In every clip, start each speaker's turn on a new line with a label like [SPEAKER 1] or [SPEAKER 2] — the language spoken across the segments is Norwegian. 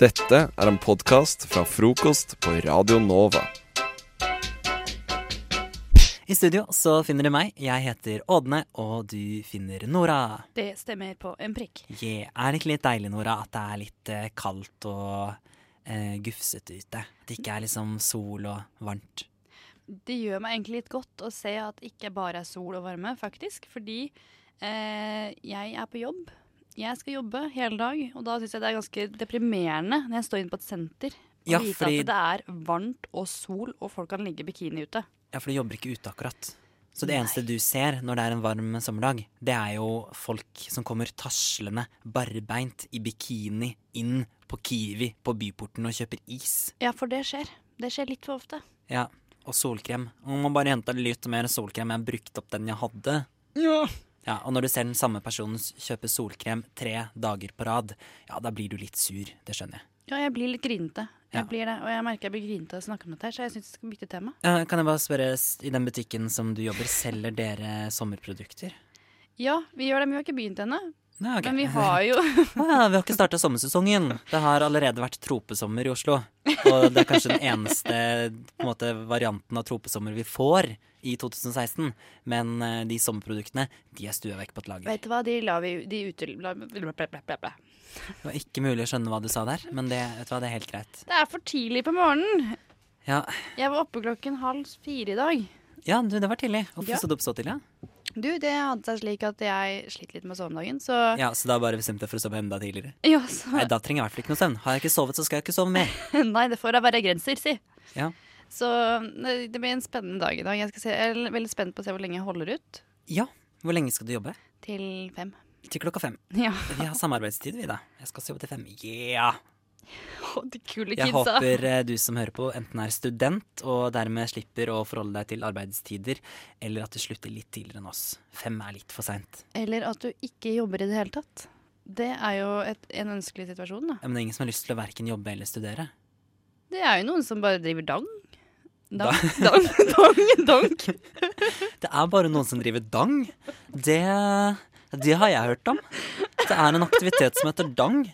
[SPEAKER 1] Dette er en podkast fra frokost på Radio Nova.
[SPEAKER 2] I studio så finner du meg. Jeg heter Ådne, og du finner Nora.
[SPEAKER 3] Det stemmer på en prikk.
[SPEAKER 2] Yeah. Er det ikke litt deilig, Nora, at det er litt eh, kaldt og eh, gufsete ute? At det ikke er liksom sol og varmt?
[SPEAKER 3] Det gjør meg egentlig litt godt å se at det ikke bare er sol og varme, faktisk. Fordi eh, jeg er på jobb. Jeg skal jobbe hele dag, og da syns jeg det er ganske deprimerende når jeg står inne på et senter og
[SPEAKER 2] Ja,
[SPEAKER 3] vite
[SPEAKER 2] fordi-
[SPEAKER 3] at det er varmt og sol, og folk kan ligge i bikini ute.
[SPEAKER 2] Ja, for du jobber ikke ute akkurat. Så det eneste du ser når det er en varm sommerdag, det er jo folk som kommer taslende, barbeint, i bikini, inn på Kiwi på byporten og kjøper is.
[SPEAKER 3] Ja, for det skjer. Det skjer litt for ofte.
[SPEAKER 2] Ja, og solkrem. Og må bare hente litt mer solkrem. Jeg brukte opp den jeg hadde. Ja, Og når du ser den samme personen s- kjøpe solkrem tre dager på rad, ja, da blir du litt sur. Det skjønner jeg.
[SPEAKER 3] Ja, jeg blir litt grinete.
[SPEAKER 2] Ja.
[SPEAKER 3] Jeg blir det, Og jeg merker jeg blir grinete av å snakke om dette, her, så jeg syns vi skal bytte tema.
[SPEAKER 2] Ja, kan jeg bare spørre, s- i den butikken som du jobber, selger dere sommerprodukter?
[SPEAKER 3] Ja, vi gjør det, men vi har ikke begynt ennå.
[SPEAKER 2] Nei, ok.
[SPEAKER 3] Men vi har jo
[SPEAKER 2] Ja, vi har ikke starta sommersesongen. Det har allerede vært tropesommer i Oslo. Og det er kanskje den eneste på en måte, varianten av tropesommer vi får i 2016. Men eh, de sommerproduktene, de er stua vekk på et lager.
[SPEAKER 3] Vet du hva, de la vi de utel... la- bla, bla, bla, bla, bla.
[SPEAKER 2] Det var ikke mulig å skjønne hva du sa der, men det, vet du hva, det er helt greit.
[SPEAKER 3] Det er for tidlig på morgenen.
[SPEAKER 2] Ja,
[SPEAKER 3] Jeg var oppe klokken halv fire i dag.
[SPEAKER 2] ja du, det var tidlig. Hvorfor
[SPEAKER 3] Ja.
[SPEAKER 2] stod du opp så tidlig? Ja?
[SPEAKER 3] Du, det hadde seg slik at jeg sliter litt med å sove om dagen, så
[SPEAKER 2] ja, Så da bare bestemte jeg for å sove enda tidligere?
[SPEAKER 3] Ja, så
[SPEAKER 2] Nei, da trenger jeg i hvert fall ikke noe søvn. Har jeg ikke sovet, så skal jeg ikke sove mer.
[SPEAKER 3] Nei, det får da være grenser, si.
[SPEAKER 2] Ja.
[SPEAKER 3] Så nei, det blir en spennende dag i dag. Jeg, skal se, jeg er veldig spent på å se hvor lenge jeg holder ut.
[SPEAKER 2] ja. Hvor lenge skal du jobbe?
[SPEAKER 3] Til fem.
[SPEAKER 2] Til klokka fem.
[SPEAKER 3] Ja.
[SPEAKER 2] Vi har samarbeidstid, vi, da. Jeg skal også jobbe til fem. Yeah!
[SPEAKER 3] Å, de kule
[SPEAKER 2] Jeg
[SPEAKER 3] kidsa.
[SPEAKER 2] håper eh, du som hører på, enten er student og dermed slipper å forholde deg til arbeidstider, eller at du slutter litt tidligere enn oss. Fem er litt for seint.
[SPEAKER 3] Eller at du ikke jobber i det hele tatt. Det er jo et, en ønskelig situasjon, da.
[SPEAKER 2] Ja, Men det er ingen som har lyst til å verken jobbe eller studere.
[SPEAKER 3] Det er jo noen som bare driver dang.
[SPEAKER 2] Da-
[SPEAKER 3] Dang, dang, dang, dang.
[SPEAKER 2] Det er bare noen som driver dang. Det, det har jeg hørt om. Det er en aktivitet som heter dang,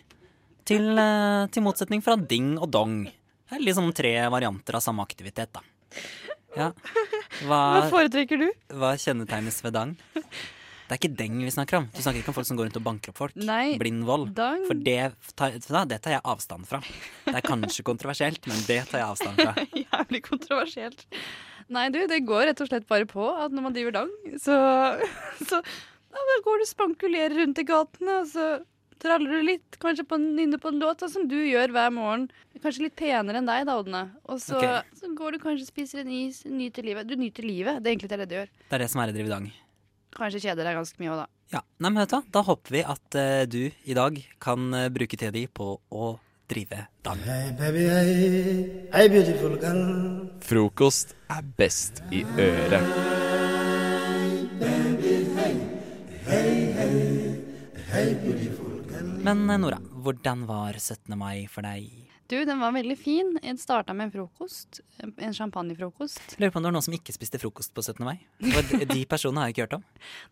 [SPEAKER 2] til, eh, til motsetning fra ding og dong. Det er liksom tre varianter av samme aktivitet, da. Ja.
[SPEAKER 3] Hva
[SPEAKER 2] Hva,
[SPEAKER 3] foretrekker du?
[SPEAKER 2] hva kjennetegnes ved dang? Det er ikke deng vi snakker om. Du snakker ikke om folk som går rundt og banker opp folk.
[SPEAKER 3] Nei,
[SPEAKER 2] Blind vold.
[SPEAKER 3] Dang.
[SPEAKER 2] For det tar, det tar jeg avstand fra. Det er kanskje kontroversielt, men det tar jeg avstand fra.
[SPEAKER 3] Jævlig kontroversielt. Nei, du, det går rett og slett bare på at når man driver dang, så, så ja, Da går du og spankulerer rundt i gatene, og så traller du litt, kanskje på, en- nynner på en låt, da, som du gjør hver morgen. Kanskje litt penere enn deg, da, Odne. Og så,
[SPEAKER 2] Ok.
[SPEAKER 3] så går du kanskje og spiser en is, nyter livet. Du nyter livet, det er egentlig det du gjør.
[SPEAKER 2] Det er det som er å drive dang.
[SPEAKER 3] Kanskje kjeder deg ganske mye òg, da.
[SPEAKER 2] Ja, nei, men vet du, hva? da håper vi at eh, du i dag kan eh, bruke tida di på å drive dang.
[SPEAKER 4] Hey baby, hey, hey beautiful girl.
[SPEAKER 1] Frokost er best i øret.
[SPEAKER 2] Men eh, Nora, hvordan var 17. mai for deg?
[SPEAKER 3] Du, den var veldig fin. Jeg starta med en frokost. En champagnefrokost.
[SPEAKER 2] Lurer på om det var noen som ikke spiste frokost på 17. mai? For de- de personene har jeg ikke hørt om.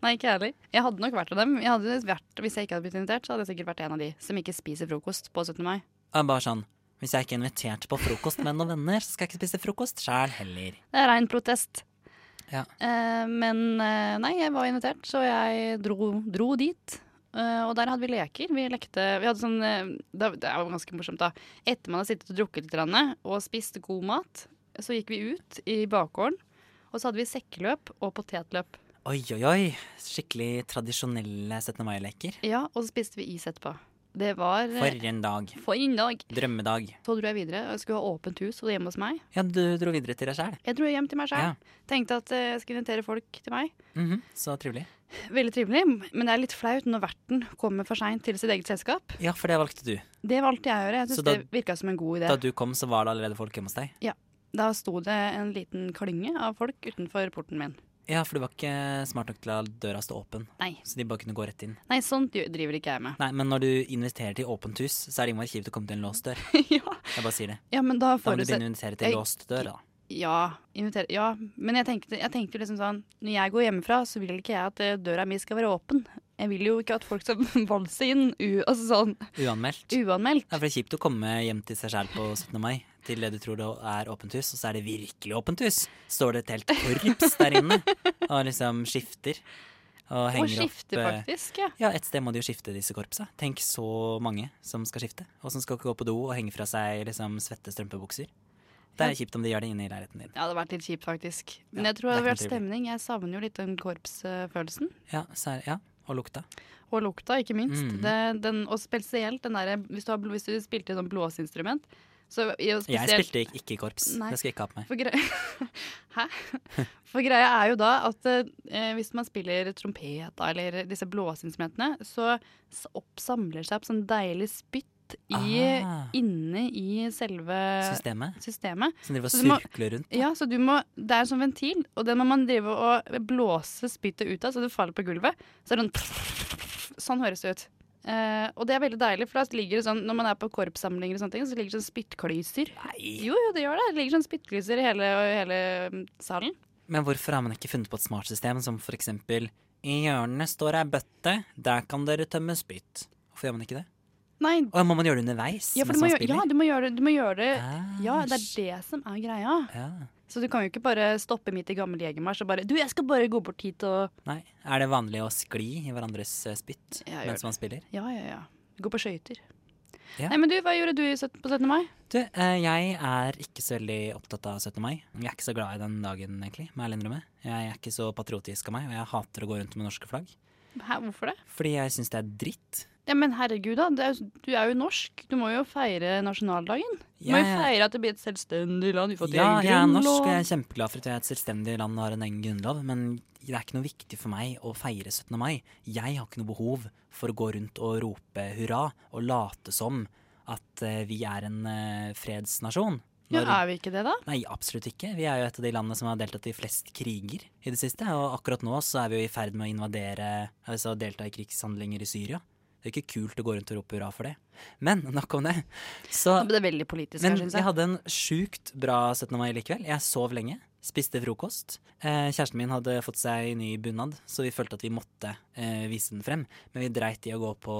[SPEAKER 3] Nei, ikke jeg heller. Jeg hadde nok vært av dem. Jeg hadde vært, hvis jeg ikke hadde blitt invitert, så hadde jeg sikkert vært en av de som ikke spiser frokost på 17. mai.
[SPEAKER 2] Jeg er bare sånn, hvis jeg ikke er invitert på frokost med noen venner, så skal jeg ikke spise frokost sjæl heller.
[SPEAKER 3] Det er rein protest.
[SPEAKER 2] Ja.
[SPEAKER 3] Eh, men eh, nei, jeg var invitert, så jeg dro, dro dit. Eh, og der hadde vi leker. Vi lekte vi hadde sånn, eh, det, det var ganske morsomt, da. Etter man hadde sittet og drukket litt grann, og spist god mat, så gikk vi ut i bakgården. Og så hadde vi sekkeløp og potetløp.
[SPEAKER 2] Oi, oi, oi. Skikkelig tradisjonelle 17. mai-leker.
[SPEAKER 3] Ja, Og så spiste vi is etterpå. Det var eh,
[SPEAKER 2] For en dag.
[SPEAKER 3] for en dag.
[SPEAKER 2] Drømmedag.
[SPEAKER 3] Så dro jeg videre. Jeg skulle ha åpent hus og det hjemme hos meg.
[SPEAKER 2] Ja, du dro videre til deg sjæl.
[SPEAKER 3] Jeg dro hjem til meg sjøl.
[SPEAKER 2] Ja.
[SPEAKER 3] Tenkte at eh, jeg skulle invitere folk til meg.
[SPEAKER 2] Mhm, Så trivelig.
[SPEAKER 3] Veldig trivelig, men det er litt flaut når verten kommer for seint til sitt eget selskap.
[SPEAKER 2] Ja, for det valgte du.
[SPEAKER 3] Det valgte jeg å gjøre. Jeg
[SPEAKER 2] Så
[SPEAKER 3] synes
[SPEAKER 2] da-
[SPEAKER 3] det virka som en god idé.
[SPEAKER 2] Da
[SPEAKER 3] Da,
[SPEAKER 2] du kom, så var det allerede folk hjemme hos deg.
[SPEAKER 3] sto det en liten klynge av folk utenfor porten min.
[SPEAKER 2] Ja, for du var ikke smart nok til å la døra stå åpen,
[SPEAKER 3] Nei,
[SPEAKER 2] så de bare kunne gå rett inn.
[SPEAKER 3] nei sånt gjør- driver ikke jeg med.
[SPEAKER 2] Nei, men når du inviterer til åpent hus, så er det innmari kjipt å komme til en låst dør.
[SPEAKER 3] ja.
[SPEAKER 2] Jeg bare sier det.
[SPEAKER 3] ja, men
[SPEAKER 2] Da
[SPEAKER 3] da
[SPEAKER 2] må du
[SPEAKER 3] forutsetter
[SPEAKER 2] begynne å invitere
[SPEAKER 3] jeg-
[SPEAKER 2] til låst dør, da.
[SPEAKER 3] Ja, inviter, ja, men jeg tenkte, jeg tenkte jo liksom sånn Når jeg går hjemmefra, så vil ikke jeg at eh, døra mi skal være åpen. Jeg vil jo ikke at folk skal valse inn u altså sånn,
[SPEAKER 2] Uanmeldt.
[SPEAKER 3] uanmeldt.
[SPEAKER 2] Det er for kjipt å komme hjem til seg sjæl på 17. mai til det du tror det er åpent hus, og så er det virkelig åpent hus. Står det et helt korps der inne og liksom skifter. Og
[SPEAKER 3] Og
[SPEAKER 2] henger
[SPEAKER 3] skifte,
[SPEAKER 2] opp eh,
[SPEAKER 3] faktisk. Ja.
[SPEAKER 2] Ja, et sted må de jo skifte disse korpsa. Tenk så mange som skal skifte, og som skal gå på do og henge fra seg liksom svette strømpebukser. Det er kjipt om de gjør det inne i leiligheten din.
[SPEAKER 3] ja, det hadde vært litt kjipt, faktisk. Men
[SPEAKER 2] Ja,
[SPEAKER 3] jeg tror det hadde
[SPEAKER 2] det er
[SPEAKER 3] vært
[SPEAKER 2] ikke noe
[SPEAKER 3] stemning. Jeg savner jo litt den korpsfølelsen.
[SPEAKER 2] Ja, så er, ja og lukta.
[SPEAKER 3] Og lukta, ikke minst.
[SPEAKER 2] Mm.
[SPEAKER 3] Det, den, og spesielt den derre hvis, du har- hvis du spilte sånn blåseinstrument så, i- og
[SPEAKER 2] Jeg
[SPEAKER 3] spesielt-
[SPEAKER 2] spilte ikke, ikke i korps.
[SPEAKER 3] Nei.
[SPEAKER 2] Det skal jeg ikke ha på meg.
[SPEAKER 3] For greia, Hæ? For greia er jo da at eh, hvis man spiller trompet da, eller disse blåseinstrumentene, så s- oppsamler seg opp sånn deilig spytt i,
[SPEAKER 2] Ah.
[SPEAKER 3] inne i selve
[SPEAKER 2] Systemet
[SPEAKER 3] systemet.
[SPEAKER 2] som driver og
[SPEAKER 3] Eh, Så du må-
[SPEAKER 2] surkler rundt.
[SPEAKER 3] Ja, så du må, Det er en sånn ventil, og den må man drive og blåse spyttet ut av, så det faller på gulvet. Så er det sånn Sånn høres det ut. Eh, og det er veldig deilig, for da ligger det sånn, når man er på korpssamlinger, og sånne ting, så ligger det sånn spyttklyser.
[SPEAKER 2] Nei.
[SPEAKER 3] Jo, jo, det gjør det. Det ligger sånn spyttklyser i hele, hele mm, salen.
[SPEAKER 2] Men hvorfor har man ikke funnet på et smart system som for eksempel I hjørnet står ei bøtte, der kan dere tømme spytt. Hvorfor gjør man ikke det?
[SPEAKER 3] Nei,
[SPEAKER 2] Å, må man gjøre det underveis?
[SPEAKER 3] ja, for
[SPEAKER 2] mens
[SPEAKER 3] du må,
[SPEAKER 2] man
[SPEAKER 3] gjøre, ja,
[SPEAKER 2] spiller?
[SPEAKER 3] du må gjøre det. Du må gjøre det.
[SPEAKER 2] Ah,
[SPEAKER 3] Ja, det er det som er greia.
[SPEAKER 2] ja.
[SPEAKER 3] Så du kan jo ikke bare stoppe midt i gammel jegermarsj og bare Du, jeg skal bare gå bort hit og
[SPEAKER 2] Nei. Er det vanlig å skli i hverandres eh, spytt
[SPEAKER 3] Ja, gjør
[SPEAKER 2] mens man spiller?
[SPEAKER 3] Ja, ja, ja. Gå på skøyter.
[SPEAKER 2] Ja.
[SPEAKER 3] Nei, men du, hva gjorde du i sytten- på 17. mai?
[SPEAKER 2] Du, eh, jeg er ikke så veldig opptatt av 17. mai. Jeg er ikke så glad i den dagen, egentlig. må Jeg ærlig innrømme. Jeg er ikke så patriotisk av meg, og jeg hater å gå rundt med norske flagg.
[SPEAKER 3] Hæ, hvorfor det?
[SPEAKER 2] Fordi jeg syns det er dritt.
[SPEAKER 3] Ja, Men herregud, da. Det er, jo- du er jo norsk. Du må jo feire nasjonaldagen. Du må jo
[SPEAKER 2] Jeg-
[SPEAKER 3] feire at det blir et selvstendig land. Vi har fått
[SPEAKER 2] ja,
[SPEAKER 3] egen
[SPEAKER 2] jeg er norsk,
[SPEAKER 3] grunnlov.
[SPEAKER 2] og jeg er kjempeglad for at vi er et selvstendig land og har en egen grunnlov, men det er ikke noe viktig for meg å feire 17. mai. Jeg har ikke noe behov for å gå rundt og rope hurra og late som at eh, vi er en eh, fredsnasjon.
[SPEAKER 3] Ja,
[SPEAKER 2] Når-
[SPEAKER 3] er vi ikke det, da?
[SPEAKER 2] Nei, absolutt ikke. Vi er jo et av de landene som har deltatt i flest kriger i det siste. Og akkurat nå så er vi jo i ferd med å invadere Altså delta i krigshandlinger i Syria. Det er jo ikke kult å gå rundt og rope hurra for det. Men nok om det. Så,
[SPEAKER 3] Det er veldig politisk her,
[SPEAKER 2] men
[SPEAKER 3] syns
[SPEAKER 2] jeg
[SPEAKER 3] jeg.
[SPEAKER 2] hadde en sjukt bra 17. mai likevel. Jeg sov lenge. Spiste frokost. Eh, kjæresten min hadde fått seg ny bunad, så vi følte at vi måtte eh, vise den frem. Men vi dreit i å gå på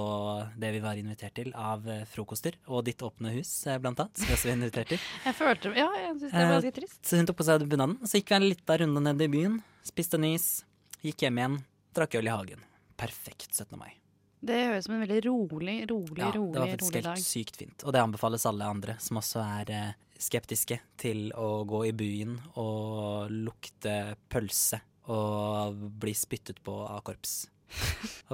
[SPEAKER 2] det vi var invitert til av eh, frokoster, og Ditt åpne hus, eh, blant annet. Som vi også var invitert til.
[SPEAKER 3] Jeg følte, ja, jeg syns det var
[SPEAKER 2] Eh,
[SPEAKER 3] ganske trist.
[SPEAKER 2] Så hun tok på seg bunaden, så gikk vi en liten runde ned i byen, spiste en is, gikk hjem igjen, drakk øl i hagen. Perfekt 17. mai.
[SPEAKER 3] Det høres ut som en veldig rolig, rolig,
[SPEAKER 2] Ja, det var
[SPEAKER 3] rolig,
[SPEAKER 2] faktisk
[SPEAKER 3] rolig dag.
[SPEAKER 2] helt sykt fint. Og det anbefales alle andre som også er eh, skeptiske til å gå i byen og lukte pølse og bli spyttet på av korps.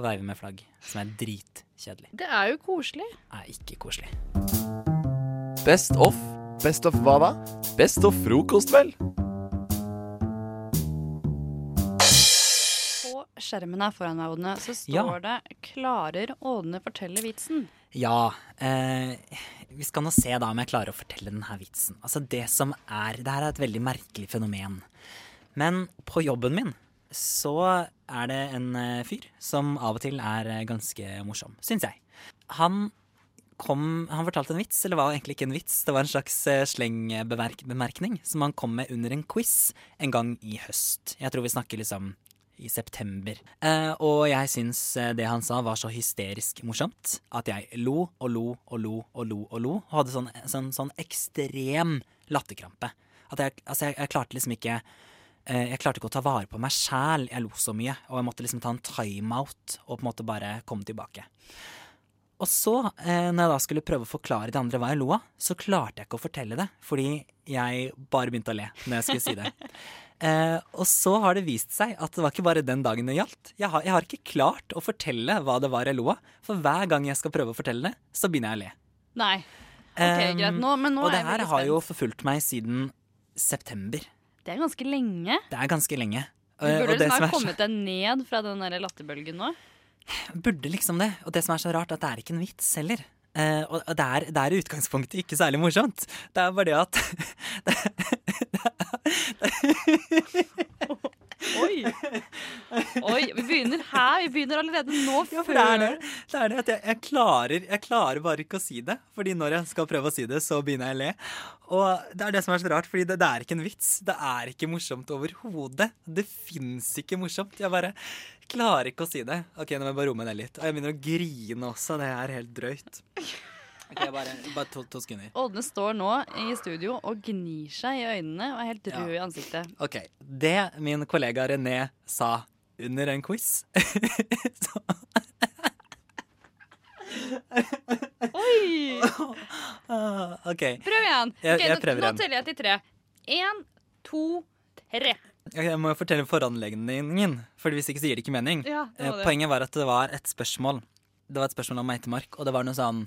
[SPEAKER 2] Og veive med flagg, som er dritkjedelig.
[SPEAKER 3] Det er jo koselig.
[SPEAKER 2] Er ikke koselig.
[SPEAKER 1] Best of.
[SPEAKER 5] Best of hva da?
[SPEAKER 1] Best of frokost, vel?
[SPEAKER 3] På skjermen her foran meg, Odne, så står
[SPEAKER 2] Ja.
[SPEAKER 3] det 'Klarer Ådne fortelle vitsen'?
[SPEAKER 2] Ja. Eh, vi skal nå se da om jeg klarer å fortelle denne vitsen. Altså Det som er Det her er et veldig merkelig fenomen. Men på jobben min så er det en eh, fyr som av og til er eh, ganske morsom, syns jeg. Han kom Han fortalte en vits, eller var egentlig ikke en vits. Det var en slags eh, slengbemerkning som han kom med under en quiz en gang i høst. Jeg tror vi snakker liksom i september. Eh, og jeg syns eh, det han sa var så hysterisk morsomt at jeg lo og lo og lo og lo og lo. Og hadde sånn, sånn, sånn ekstrem latterkrampe. At jeg, altså jeg, jeg klarte liksom ikke eh, Jeg klarte ikke å ta vare på meg sjæl. Jeg lo så mye. Og jeg måtte liksom ta en timeout og på en måte bare komme tilbake. Og så, eh, når jeg da skulle prøve å forklare de andre hva jeg lo av, så klarte jeg ikke å fortelle det. Fordi jeg bare begynte å le når jeg skulle si det. Eh, og så har det vist seg at det var ikke bare den dagen det gjaldt. Jeg har, jeg har ikke klart å fortelle hva det var jeg lo av, for hver gang jeg skal prøve å fortelle det, så begynner jeg å le.
[SPEAKER 3] Nei. Ok,
[SPEAKER 2] Eh,
[SPEAKER 3] greit. Nå, men nå
[SPEAKER 2] og
[SPEAKER 3] er
[SPEAKER 2] det
[SPEAKER 3] jeg
[SPEAKER 2] her
[SPEAKER 3] veldig
[SPEAKER 2] har jo
[SPEAKER 3] spent.
[SPEAKER 2] forfulgt meg siden september.
[SPEAKER 3] Det er ganske lenge.
[SPEAKER 2] Det er ganske lenge. Eh,
[SPEAKER 3] Du
[SPEAKER 2] og
[SPEAKER 3] burde
[SPEAKER 2] det som
[SPEAKER 3] snart
[SPEAKER 2] er så-
[SPEAKER 3] kommet deg ned fra den der latterbølgen nå.
[SPEAKER 2] burde liksom det. Og det som er så rart, er at det er ikke en vits heller. Eh, og og det er, det er i utgangspunktet ikke særlig morsomt. Det er bare det at det,
[SPEAKER 3] Oi. Oi, Vi begynner her. Vi begynner allerede nå.
[SPEAKER 2] For det er det. det, er det at jeg, jeg, klarer, jeg klarer bare ikke å si det. Fordi når jeg skal prøve å si det, så begynner jeg å le. Og det er det som er så rart, fordi det, det er ikke en vits. Det er ikke morsomt overhodet. Det fins ikke morsomt. Jeg bare klarer ikke å si det. Ok, nå må jeg bare roe meg ned litt. Og jeg begynner å grine også. Det er helt drøyt. Ok, bare, bare to, to sekunder.
[SPEAKER 3] Ådne står nå i studio og gnir seg i øynene og er helt rød i ansiktet.
[SPEAKER 2] Ok, Det min kollega René sa under en quiz så,
[SPEAKER 3] Oi!
[SPEAKER 2] ah, OK.
[SPEAKER 3] Prøv igjen.
[SPEAKER 2] Jeg-
[SPEAKER 3] Ok,
[SPEAKER 2] jeg
[SPEAKER 3] nå-
[SPEAKER 2] prøver
[SPEAKER 3] nå
[SPEAKER 2] igjen.
[SPEAKER 3] teller jeg til tre. Én, to, tre.
[SPEAKER 2] Ok, Jeg må jo fortelle foranledningen, for hvis ikke så gir det ikke mening.
[SPEAKER 3] Ja, det
[SPEAKER 2] Eh,
[SPEAKER 3] var det.
[SPEAKER 2] Poenget var at det var et spørsmål. Det var et spørsmål om meitemark, og det var noe sånn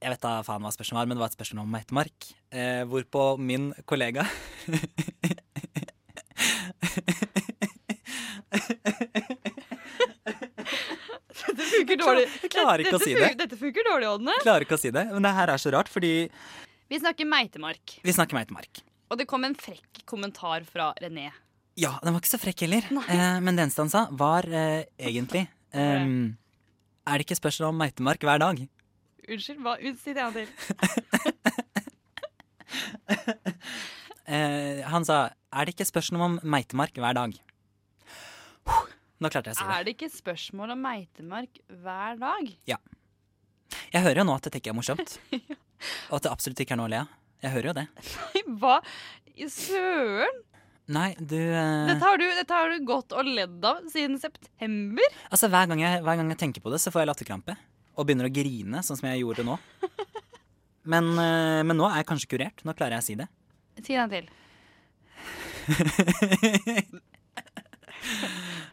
[SPEAKER 2] Jeg vet da faen hva spørsmålet var, men det var et spørsmål om meitemark. Eh, hvorpå min kollega
[SPEAKER 3] Det funker dårlig.
[SPEAKER 2] Jeg klarer ikke å
[SPEAKER 3] Dette-
[SPEAKER 2] si
[SPEAKER 3] dette
[SPEAKER 2] det.
[SPEAKER 3] fun- Dette funker dårlig, Ådne.
[SPEAKER 2] Klarer ikke å si det. Men det her er så rart, fordi
[SPEAKER 3] Vi snakker meitemark,
[SPEAKER 2] vi snakker meitemark.
[SPEAKER 3] og det kom en frekk kommentar fra René.
[SPEAKER 2] Ja, den var ikke så frekk heller. Eh, men det eneste han sa, var eh, egentlig ehm, Er det ikke spørsmål om meitemark hver dag?
[SPEAKER 3] Unnskyld, hva? Un- Si det en gang til.
[SPEAKER 2] Eh, han sa Er det ikke spørsmål om meitemark hver dag? Huh, Nå klarte jeg å si det.
[SPEAKER 3] Er det ikke spørsmål om meitemark hver dag?
[SPEAKER 2] Jeg hører jo nå at det ikke er morsomt. Og at det absolutt ikke er noe å le av. Jeg hører jo det.
[SPEAKER 3] Hva i søren?
[SPEAKER 2] Nei, du eh,
[SPEAKER 3] Dette har du, dette har du gått og ledd av siden september.
[SPEAKER 2] Altså, hver gang, jeg, hver gang jeg tenker på det, så får jeg latterkrampe. Og begynner å grine, sånn som jeg gjorde nå. Men, eh, men nå er jeg kanskje kurert. Nå klarer jeg å si det.
[SPEAKER 3] Si det en gang til.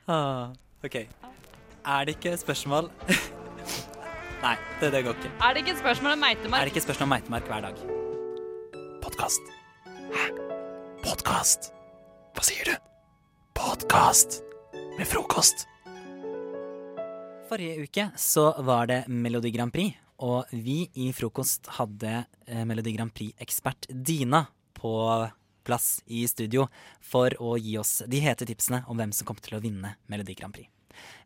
[SPEAKER 2] Ah, OK. Er det ikke spørsmål Nei, det, det går ikke.
[SPEAKER 3] Er det ikke et spørsmål om
[SPEAKER 2] Er
[SPEAKER 3] meitemark?
[SPEAKER 2] det ikke spørsmål om meitemark hver dag?
[SPEAKER 1] Podkast. Hæ? Podkast? Hva sier du? Podkast med frokost.
[SPEAKER 2] Forrige uke så var det Melodi Grand Prix, og vi i Frokost hadde eh, Melodi Grand Prix-ekspert Dina på plass i studio for å gi oss de hete tipsene om hvem som kommer til å vinne Melodi Grand Prix.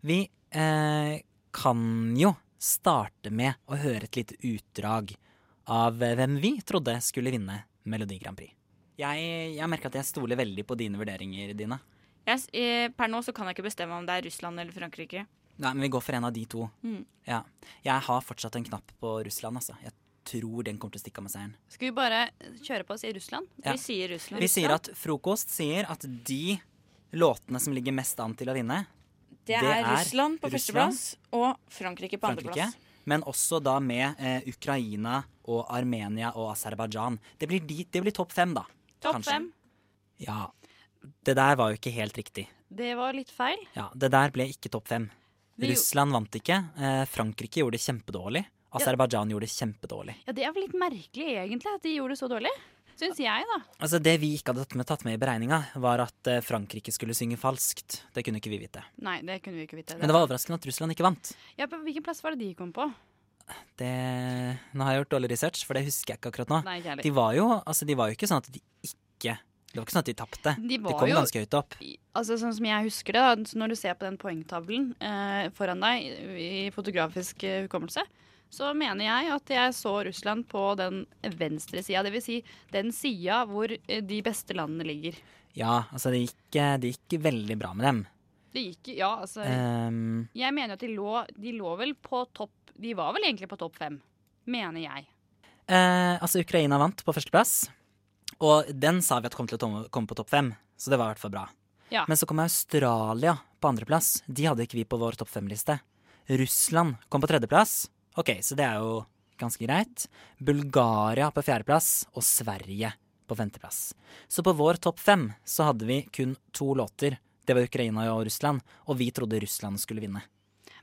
[SPEAKER 2] Vi eh, kan jo starte med å høre et lite utdrag av eh, hvem vi trodde skulle vinne Melodi Grand Prix. Jeg, jeg merker at jeg stoler veldig på dine vurderinger, Dina.
[SPEAKER 5] Jeg, s- eh, per nå så kan jeg ikke bestemme om det er Russland eller Frankrike.
[SPEAKER 2] Nei, men vi går for en av de to.
[SPEAKER 5] Mm.
[SPEAKER 2] Ja. Jeg har fortsatt en knapp på Russland, altså. Jeg tror den kommer til å stikke av med seieren.
[SPEAKER 3] Skal vi bare kjøre på og si Russland?
[SPEAKER 2] Ja.
[SPEAKER 5] Vi sier Russland.
[SPEAKER 2] Vi sier at Frokost sier at de låtene som ligger mest an til å vinne,
[SPEAKER 5] det er,
[SPEAKER 2] det er
[SPEAKER 5] Russland på
[SPEAKER 2] Russland.
[SPEAKER 5] førsteplass og Frankrike på
[SPEAKER 2] Frankrike,
[SPEAKER 5] andreplass.
[SPEAKER 2] men også da med eh, Ukraina og Armenia og Aserbajdsjan. Det blir, de, det blir topp fem, da.
[SPEAKER 5] Topp
[SPEAKER 2] Kanskje.
[SPEAKER 5] fem.
[SPEAKER 2] Ja. Det der var jo ikke helt riktig.
[SPEAKER 3] Det var litt feil.
[SPEAKER 2] Ja, Det der ble ikke topp fem.
[SPEAKER 3] Vi jo-
[SPEAKER 2] Russland vant ikke. Eh, Frankrike gjorde det kjempedårlig. Aserbajdsjan gjorde det kjempedårlig.
[SPEAKER 3] Ja, Det er vel litt merkelig, egentlig, at de gjorde det så dårlig. Syns jeg, da.
[SPEAKER 2] Altså Det vi ikke hadde tatt med, tatt med i beregninga, var at eh, Frankrike skulle synge falskt. Det kunne ikke vi vite.
[SPEAKER 3] Nei, det kunne vi ikke vite.
[SPEAKER 2] Men det var overraskende at Russland ikke vant.
[SPEAKER 3] Ja, på Hvilken plass var det de kom på?
[SPEAKER 2] Det, nå har jeg gjort dårlig research, for det husker jeg ikke akkurat nå.
[SPEAKER 3] Nei, ikke
[SPEAKER 2] De
[SPEAKER 3] heller.
[SPEAKER 2] var jo, altså, de var jo ikke sånn at de ikke Det var ikke sånn at de tapte.
[SPEAKER 3] De
[SPEAKER 2] De
[SPEAKER 3] var
[SPEAKER 2] kom
[SPEAKER 3] jo-
[SPEAKER 2] ganske høyt opp.
[SPEAKER 3] I- Altså, Sånn som jeg husker det, da, så når du ser på den poengtavlen eh, foran deg i- i fotografisk eh, hukommelse, så mener jeg at jeg så Russland på den venstre sida. Dvs. Si den sida hvor eh, de beste landene ligger.
[SPEAKER 2] Ja, altså det gikk, eh, det gikk veldig bra med dem.
[SPEAKER 3] Det gikk Ja, altså.
[SPEAKER 2] Ehm,
[SPEAKER 3] Jeg mener at de lå, de lå vel på topp De var vel egentlig på topp fem, mener jeg.
[SPEAKER 2] eh, altså Ukraina vant på førsteplass, og den sa vi at kom til å tom- komme på topp fem, så det var i hvert fall bra.
[SPEAKER 3] Ja.
[SPEAKER 2] Men så kom Australia på andreplass. De hadde ikke vi på vår topp fem-liste. Russland kom på tredjeplass. Ok, så det er jo ganske greit. Bulgaria på fjerdeplass, og Sverige på femteplass. Så på vår topp fem så hadde vi kun to låter. Det var Ukraina og Russland, og vi trodde Russland skulle vinne.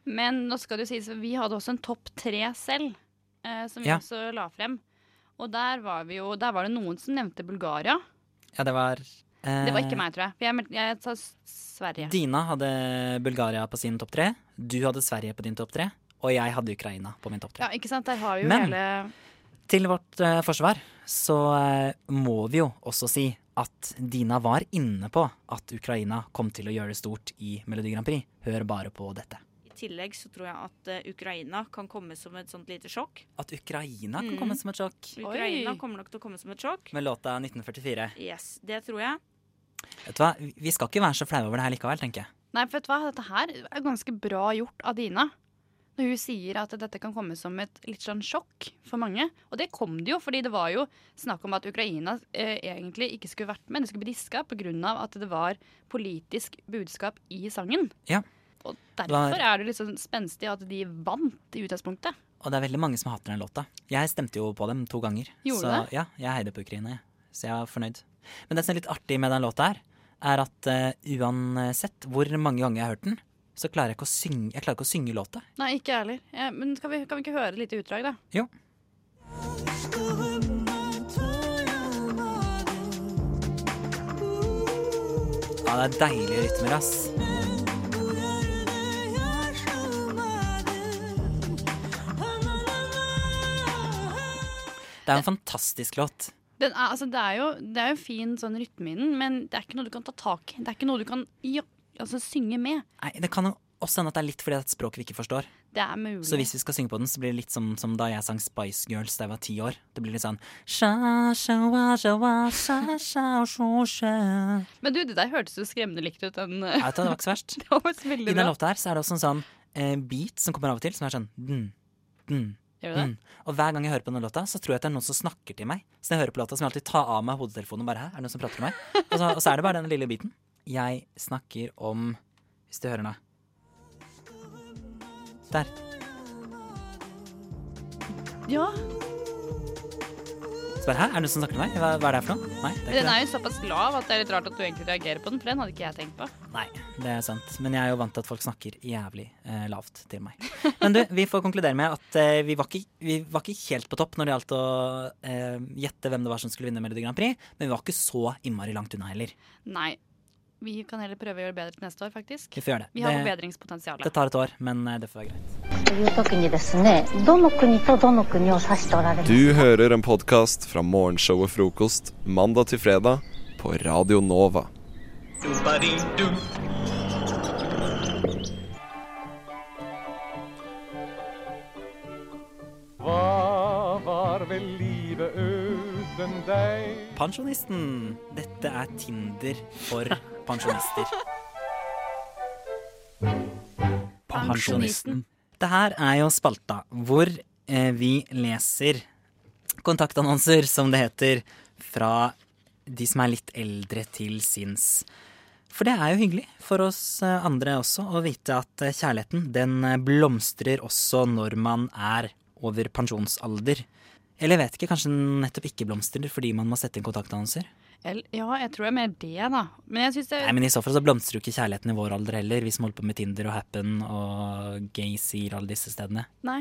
[SPEAKER 3] Men nå skal det jo sies at vi hadde også en topp tre selv, eh, som vi
[SPEAKER 2] Ja.
[SPEAKER 3] også la frem. Og der var, vi jo, der var det noen som nevnte Bulgaria.
[SPEAKER 2] Ja, det var eh,
[SPEAKER 3] Det var ikke meg, tror jeg. For jeg, meldte- jeg sa S- Sverige.
[SPEAKER 2] Dina hadde Bulgaria på sin topp tre, du hadde Sverige på din topp tre, og jeg hadde Ukraina på min topp tre.
[SPEAKER 3] Ja, ikke sant? Der har vi jo
[SPEAKER 2] Men-
[SPEAKER 3] hele
[SPEAKER 2] Til vårt eh, forsvar så eh, må vi jo også si at Dina var inne på at Ukraina kom til å gjøre det stort i Melodi Grand Prix. Hør bare på dette.
[SPEAKER 5] I tillegg så tror jeg at eh, Ukraina kan komme som et sånt lite sjokk.
[SPEAKER 2] At Ukraina kan
[SPEAKER 5] Mm.
[SPEAKER 2] komme som et sjokk
[SPEAKER 5] Ukraina
[SPEAKER 3] Oi.
[SPEAKER 5] kommer nok til å komme som et sjokk.
[SPEAKER 2] med låta 1944.
[SPEAKER 5] Yes, det tror jeg.
[SPEAKER 2] Vet du hva, Vi skal ikke være så flaue over det her likevel, tenker jeg.
[SPEAKER 3] Nei, for vet du hva? Dette her er ganske bra gjort av Dina. Når hun sier at dette kan komme som et litt sånn sjokk for mange. Og det kom det jo, fordi det var jo snakk om at Ukraina eh, egentlig ikke skulle vært med. De skulle bli diska pga. at det var politisk budskap i sangen.
[SPEAKER 2] Ja.
[SPEAKER 3] Og
[SPEAKER 2] var-
[SPEAKER 3] derfor er det litt sånn spenstig at de vant i utgangspunktet.
[SPEAKER 2] Og det er veldig mange som hater den låta. Jeg stemte jo på dem to ganger.
[SPEAKER 3] Gjorde
[SPEAKER 2] så,
[SPEAKER 3] du
[SPEAKER 2] Ja, jeg heide på Ukraina, jeg. Så jeg var fornøyd. Men det som er litt artig med den låta her, er at eh, uansett hvor mange ganger jeg har hørt den, så klarer jeg ikke å synge, jeg klarer ikke å synge låta.
[SPEAKER 3] Nei, ikke jeg heller. Ja, men kan vi, kan vi ikke høre et lite utdrag, da?
[SPEAKER 2] Jo. Ja, det er deilige rytmer, ass. Det er en fantastisk låt.
[SPEAKER 3] Den er, altså, det, er jo, det er jo fin sånn rytme i den, men det er ikke noe du kan ta tak i. Det er ikke noe du kan ja, altså, synge med.
[SPEAKER 2] Nei, det kan jo også hende at det er litt fordi det er et språk vi ikke forstår.
[SPEAKER 3] Det er mulig.
[SPEAKER 2] Så hvis vi skal synge på den, så blir det litt sånn som, som da jeg sang Spice Girls da jeg var ti år. Det blir litt sånn sha, sha, wa, sha, wa, sha, sha, sho, sha.
[SPEAKER 3] Men du, det der hørtes jo skremmende likt ut. Den,
[SPEAKER 2] Jeg vet, det var ikke så verst.
[SPEAKER 3] det var faktisk veldig
[SPEAKER 2] I den
[SPEAKER 3] bra.
[SPEAKER 2] låta her så er det også en sånn eh, beat som kommer av og til, som er sånn dun, dun,
[SPEAKER 3] Gjør du det?
[SPEAKER 2] dun. Og hver gang jeg hører på den låta, så tror jeg at det er noen som snakker til meg. Så når jeg hører på låta, så må jeg alltid ta av meg hodetelefonen og bare Hæ, er det noen som prater til meg? Og så, og så er det bare den lille biten. Jeg snakker om Hvis du hører nå. Der. Mm.
[SPEAKER 3] Ja.
[SPEAKER 2] Så bare Hæ, er det noen som snakker til meg? Hva, hva er det her for noe? Nei, det er ikke
[SPEAKER 3] Den
[SPEAKER 2] det.
[SPEAKER 3] er jo såpass lav at det er litt rart at du egentlig reagerer på den, for den hadde ikke jeg tenkt på.
[SPEAKER 2] Nei, det er sant. Men jeg er jo vant til at folk snakker jævlig eh, lavt til meg. Men du, vi får konkludere med at eh, vi, var ikke, vi var ikke helt på topp når det gjaldt å eh, gjette hvem det var som skulle vinne Melodi Grand Prix, men vi var ikke så innmari langt unna heller.
[SPEAKER 3] Nei. Vi kan heller prøve å gjøre det bedre til neste år, faktisk.
[SPEAKER 2] Vi får gjøre det.
[SPEAKER 3] Vi har
[SPEAKER 2] det,
[SPEAKER 3] forbedringspotensial.
[SPEAKER 2] det tar et år, men eh, det får være greit.
[SPEAKER 6] という時にですねどの国とどの国を指しておられます
[SPEAKER 1] Du hører en podkast fra morgenshowet Frokost mandag til fredag på Radio Nova.
[SPEAKER 7] Hva var vel livet uten deg?
[SPEAKER 2] Pensjonisten! Dette er Tinder for pensjonister.
[SPEAKER 3] Pensjonisten.
[SPEAKER 2] Det her er jo spalta hvor eh, vi leser kontaktannonser, som det heter, fra de som er litt eldre til sinns. For det er jo hyggelig for oss eh, andre også å vite at eh, kjærligheten den eh, blomstrer også når man er over pensjonsalder. Eller jeg vet ikke, kanskje den nettopp ikke blomstrer fordi man må sette inn kontaktannonser?
[SPEAKER 3] Eller- Ja, jeg tror det er mer det, da. Men jeg syns det
[SPEAKER 2] Nei, men I så fall så blomstrer jo ikke kjærligheten i vår alder heller, vi som holder på med Tinder og Happen og Gaysir og alle disse stedene.
[SPEAKER 3] Nei.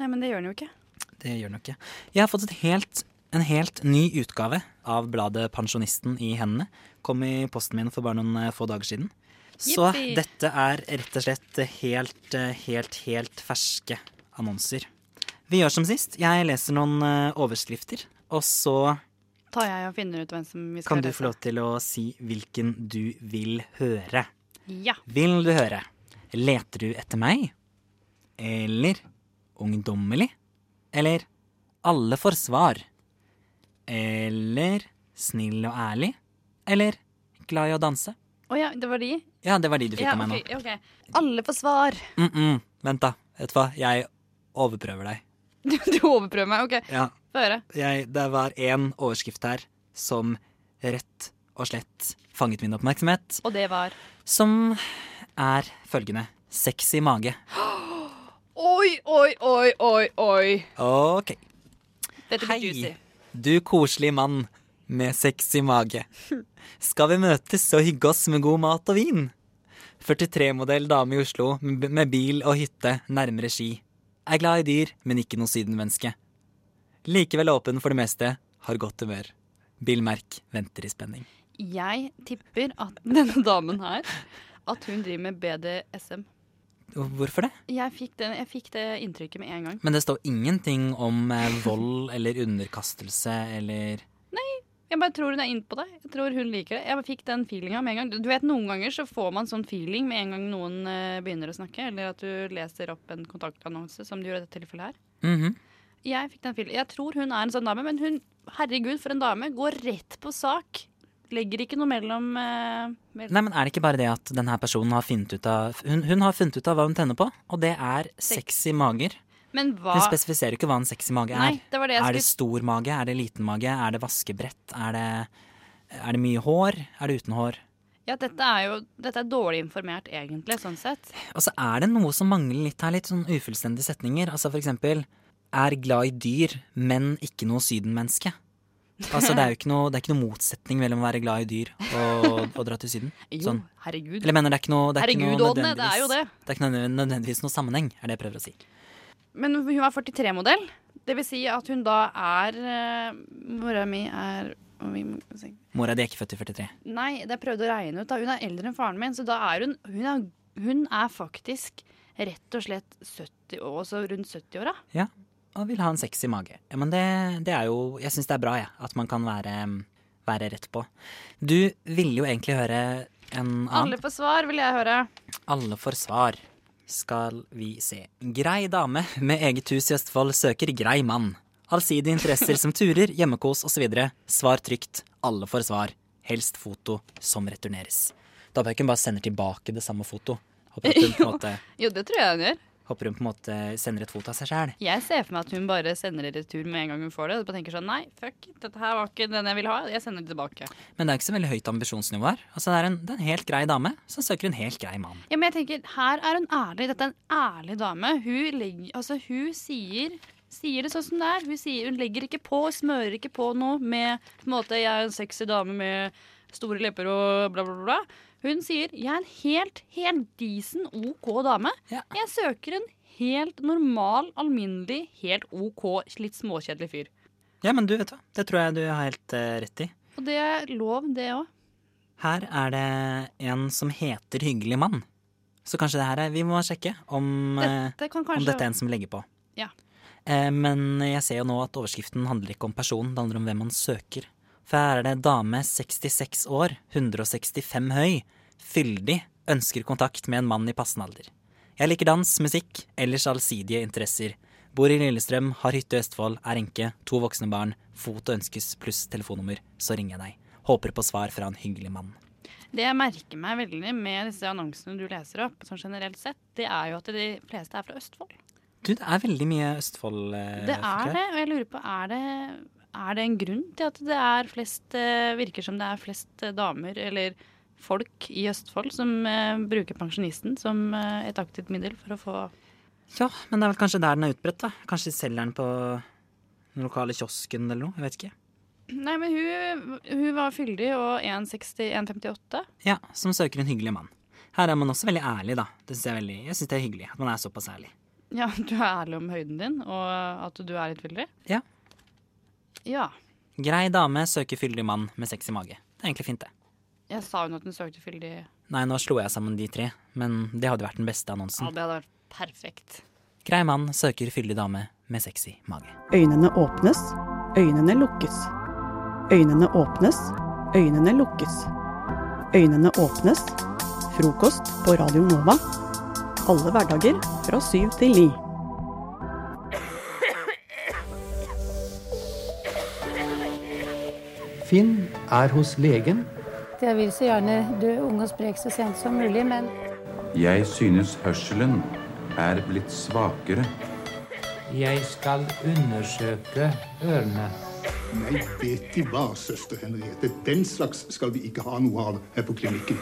[SPEAKER 3] Nei, men det gjør den jo ikke.
[SPEAKER 2] Det gjør den jo ikke. Jeg har fått et helt, en helt ny utgave av bladet Pensjonisten i hendene. Kom i posten min for bare noen eh, få dager siden. Så
[SPEAKER 3] Yippee!
[SPEAKER 2] dette er rett og slett helt, eh, helt, helt ferske annonser. Vi gjør som sist. Jeg leser noen eh, overskrifter, og så
[SPEAKER 3] Tar jeg og finner ut hvem som vi skal
[SPEAKER 2] kan du få lov til å si hvilken du vil høre.
[SPEAKER 3] Ja.
[SPEAKER 2] Vil du høre? Leter du etter meg? Eller ungdommelig? Eller alle får svar? Eller snill og ærlig? Eller glad i å danse?
[SPEAKER 3] Å ja, det var de?
[SPEAKER 2] Ja, det var de du fikk
[SPEAKER 3] Ja,
[SPEAKER 2] av meg
[SPEAKER 3] ok, ok. Alle får svar.
[SPEAKER 2] nå. Mm -mm. Vent, da. Vet du hva? Jeg overprøver deg.
[SPEAKER 3] Du, du overprøver meg. OK,
[SPEAKER 2] Ja,
[SPEAKER 3] få høre.
[SPEAKER 2] jeg, det var én overskrift her som rett og slett fanget min oppmerksomhet.
[SPEAKER 3] Og det var
[SPEAKER 2] Som er følgende. Sexy mage.
[SPEAKER 3] Oi, oi, oi, oi, oi.
[SPEAKER 2] OK.
[SPEAKER 3] Dette blir juicy.
[SPEAKER 2] Hei, du koselige mann med sexy mage. Skal vi møtes og hygge oss med god mat og vin? 43-modell dame i Oslo med med bil og hytte nærmere Ski. Er glad i dyr, men ikke noe sydenmenneske. Likevel åpen for det meste, har godt humør. Bill Merk venter i spenning.
[SPEAKER 3] Jeg tipper at denne damen her At hun driver med BDSM.
[SPEAKER 2] Hvorfor det?
[SPEAKER 3] Jeg fikk, den, jeg fikk det inntrykket med en gang.
[SPEAKER 2] Men det står ingenting om eh, vold eller underkastelse eller
[SPEAKER 3] Jeg bare tror hun er inne på det. Jeg tror hun liker det. Jeg bare fikk den feelinga med en gang. Du- Du vet, Noen ganger så får man sånn feeling med en gang noen eh, begynner å snakke, eller at du leser opp en kontaktannonse, som du gjør i dette tilfellet her.
[SPEAKER 2] Mhm.
[SPEAKER 3] Jeg fikk den feeling. Jeg tror hun er en sånn dame, men hun, herregud, for en dame. Går rett på sak. Legger ikke noe mellom eh, mell-
[SPEAKER 2] Nei, men Er det ikke bare det at denne personen har funnet ut av hun, hun har funnet ut av hva hun tenner på, og det er sexy mager.
[SPEAKER 3] Men hva
[SPEAKER 2] Hun spesifiserer jo ikke hva en sexy mage er.
[SPEAKER 3] Nei, det var det jeg
[SPEAKER 2] er det
[SPEAKER 3] skulle-
[SPEAKER 2] stor mage? Er det liten mage? Er det vaskebrett? Er det, er det mye hår? Er det uten hår?
[SPEAKER 3] Ja, dette er jo Dette er dårlig informert, egentlig, sånn sett.
[SPEAKER 2] Og så er det noe som mangler litt her, litt sånn ufullstendige setninger. Altså for eksempel er glad i dyr, men ikke noe sydenmenneske. Altså det er jo ikke noe, det er ikke noe motsetning mellom å være glad i dyr og, og dra til Syden.
[SPEAKER 3] Jo,
[SPEAKER 2] Sånn.
[SPEAKER 3] herregud.
[SPEAKER 2] Eller jeg mener det er ikke noe, det er ikke
[SPEAKER 3] Herregud,
[SPEAKER 2] noe
[SPEAKER 3] Ådne, det er jo det.
[SPEAKER 2] Det er ikke nødvendigvis- nødvendigvis noe sammenheng, er det jeg prøver å si.
[SPEAKER 3] Men hun er 43-modell. Det vil si at hun da er eh, Mora mi er vi må se.
[SPEAKER 2] Mora di er ikke født i 43.
[SPEAKER 3] Nei, det jeg prøvde å regne ut. da Hun er eldre enn faren min, så da er hun Hun er, hun er faktisk rett og slett 70, og også rundt 70-åra.
[SPEAKER 2] Ja, og vil ha en sexy mage. Ja, men det, det er jo Jeg syns det er bra, jeg. at man kan være, være rett på. Du ville jo egentlig høre en annen.
[SPEAKER 3] Alle får svar, vil jeg høre.
[SPEAKER 2] Alle får svar, skal vi se. Grei dame med eget hus i Østfold søker grei mann. Allsidige interesser som turer, hjemmekos osv. Svar trygt. Alle får svar. Helst foto som returneres. Da bør ikke hun bare sende tilbake det samme foto. Håper at hun på en måte,
[SPEAKER 3] Jo, det tror jeg hun gjør.
[SPEAKER 2] håper hun på en måte sender et foto av seg sjæl.
[SPEAKER 3] Jeg ser for meg at hun bare sender det retur med en gang hun får det. Og bare tenker sånn Nei, fuck, dette her var ikke den jeg ville ha. Jeg sender det tilbake.
[SPEAKER 2] Men det er ikke så veldig høyt ambisjonsnivå her. Altså, det, er en, det er en helt grei dame som søker en helt grei mann.
[SPEAKER 3] Ja, men jeg tenker, her er hun ærlig. Dette er en ærlig dame. Hun, legger, altså, hun sier, sier det sånn som det er. Hun, sier, hun legger ikke på, smører ikke på noe med på en måte, 'jeg er en sexy dame med store lepper' og bla, bla, bla. Hun sier 'jeg er en helt, helt decent, OK dame'.
[SPEAKER 2] Ja.
[SPEAKER 3] Jeg søker en helt normal, alminnelig, helt OK, litt småkjedelig fyr.
[SPEAKER 2] Ja, men du, vet du hva. Det tror jeg du har helt eh, rett i.
[SPEAKER 3] Og det er lov, det òg.
[SPEAKER 2] Her er det en som heter Hyggelig mann. Så kanskje det her er Vi må sjekke om, eh,
[SPEAKER 3] Dette kan
[SPEAKER 2] om
[SPEAKER 3] kanskje
[SPEAKER 2] dette er en som legger på.
[SPEAKER 3] Ja.
[SPEAKER 2] Eh, men jeg ser jo nå at overskriften handler ikke om personen, det handler om hvem man søker. For her er det dame 66 år, 165 høy, fyldig, ønsker kontakt med en mann i passende alder. Jeg liker dans, musikk, ellers allsidige interesser. Bor i Lillestrøm, har hytte i Østfold, er enke, to voksne barn, foto ønskes pluss telefonnummer, så ringer jeg deg. Håper på svar fra en hyggelig mann.
[SPEAKER 3] Det jeg merker meg veldig med disse annonsene du leser opp, sånn generelt sett, det er jo at de fleste er fra Østfold.
[SPEAKER 2] Du, det er veldig mye Østfold. eh,
[SPEAKER 3] Det
[SPEAKER 2] folk
[SPEAKER 3] er
[SPEAKER 2] her.
[SPEAKER 3] det, og jeg lurer på, er det, er det en grunn til at det er flest, eh, virker som det er flest eh, damer eller folk i Østfold som eh, bruker pensjonisten som eh, et aktivt middel for å få
[SPEAKER 2] Ja, men det er vel kanskje der den er utbredt, da. Kanskje de selger den på den lokale kiosken eller noe. Jeg vet ikke.
[SPEAKER 3] Nei, men hun, hun var fyldig og 1,60, 1,58.
[SPEAKER 2] Ja, som søker en hyggelig mann. Her er man også veldig ærlig, da. Det synes jeg, er veldig, jeg synes det er hyggelig at man er såpass ærlig.
[SPEAKER 3] Ja, du er ærlig om høyden din, og at du er litt fyldig.
[SPEAKER 2] Ja.
[SPEAKER 3] Ja.
[SPEAKER 2] Grei dame søker fyldig mann med sexy mage. Det er egentlig fint, det.
[SPEAKER 3] Jeg sa hun at hun søkte fyldig.
[SPEAKER 2] Nei, nå slo jeg sammen de tre, men det hadde vært den beste
[SPEAKER 3] Ja,
[SPEAKER 2] annonsen.
[SPEAKER 3] det hadde vært perfekt.
[SPEAKER 2] Grei mann søker fyldig dame med sexy mage.
[SPEAKER 8] Øynene åpnes, øynene lukkes. Øynene åpnes, øynene lukkes. Øynene åpnes. Frokost på Radio Nova. Alle hverdager fra syv til ni.
[SPEAKER 9] Finn er hos legen.
[SPEAKER 10] Jeg vil så gjerne dø ung og sprek så sent som mulig, men
[SPEAKER 11] Jeg synes hørselen er blitt svakere.
[SPEAKER 9] Jeg skal undersøke ørene.
[SPEAKER 7] Nei, vet De hva, søster Henriette. Den slags skal vi ikke ha noe av her på klinikken.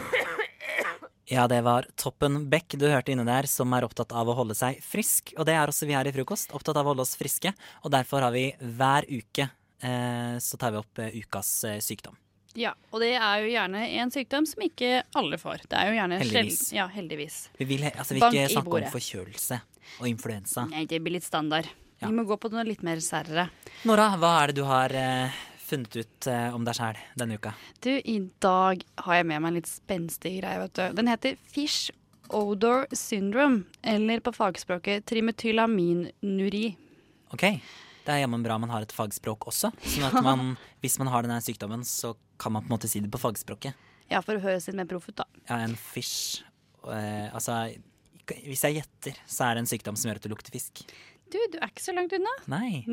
[SPEAKER 2] Ja, det var Toppen Beck du hørte inne der, som er opptatt av å holde seg frisk. Og det er også vi her i Frokost, opptatt av å holde oss friske. Og derfor har vi hver uke eh, så tar vi opp eh, ukas eh, sykdom.
[SPEAKER 3] Ja, og det er jo gjerne en sykdom som ikke alle får. Det er jo gjerne
[SPEAKER 2] Heldigvis.
[SPEAKER 3] sjeld- Ja, heldigvis.
[SPEAKER 2] Vi vil he- altså, vi
[SPEAKER 3] Bank
[SPEAKER 2] ikke
[SPEAKER 3] i
[SPEAKER 2] snakke
[SPEAKER 3] bordet.
[SPEAKER 2] om forkjølelse og influensa.
[SPEAKER 3] Nei, det blir litt standard.
[SPEAKER 2] Ja.
[SPEAKER 3] Vi må gå på noe litt mer særere.
[SPEAKER 2] Nora, hva er det du har eh, funnet ut eh, om deg sjæl denne uka?
[SPEAKER 3] Du, i dag har jeg med meg en litt spenstig greie, vet du. Den heter fish odor syndrome, eller på fagspråket trimetylaminuri.
[SPEAKER 2] OK? Det er jammen bra man har et fagspråk også. Sånn at man, hvis man har denne sykdommen, så kan man på en måte si det på fagspråket.
[SPEAKER 3] Ja, for å høres litt mer proff ut, da.
[SPEAKER 2] Jeg har en fish. Eh, altså, hvis jeg gjetter, så er det en sykdom som gjør at du lukter fisk.
[SPEAKER 3] Du, du er ikke så langt unna.
[SPEAKER 2] Nei.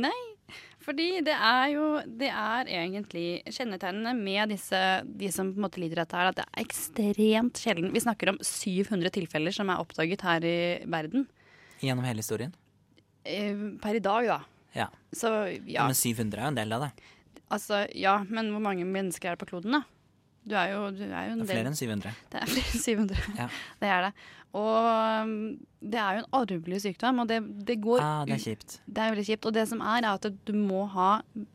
[SPEAKER 3] Fordi det er jo Det er egentlig kjennetegnene med disse, de som på en måte lider av dette, her, at det er ekstremt sjelden. Vi snakker om 700 tilfeller som er oppdaget her i verden.
[SPEAKER 2] Gjennom hele historien.
[SPEAKER 3] Eh, Per i dag, da.
[SPEAKER 2] Ja.
[SPEAKER 3] Så ja.
[SPEAKER 2] Men 700 er jo en del av det.
[SPEAKER 3] Altså, ja, men hvor mange mennesker er det på kloden, da? Du er jo, du er jo en
[SPEAKER 2] Det er flere
[SPEAKER 3] del
[SPEAKER 2] enn 700.
[SPEAKER 3] Det er flere enn 700.
[SPEAKER 2] Ja.
[SPEAKER 3] Det er det. Og um, det er jo en arvelig sykdom, og det, det går
[SPEAKER 2] Ah, det er
[SPEAKER 3] ut-
[SPEAKER 2] kjipt.
[SPEAKER 3] Det er veldig kjipt. Og det som er, er at du må ha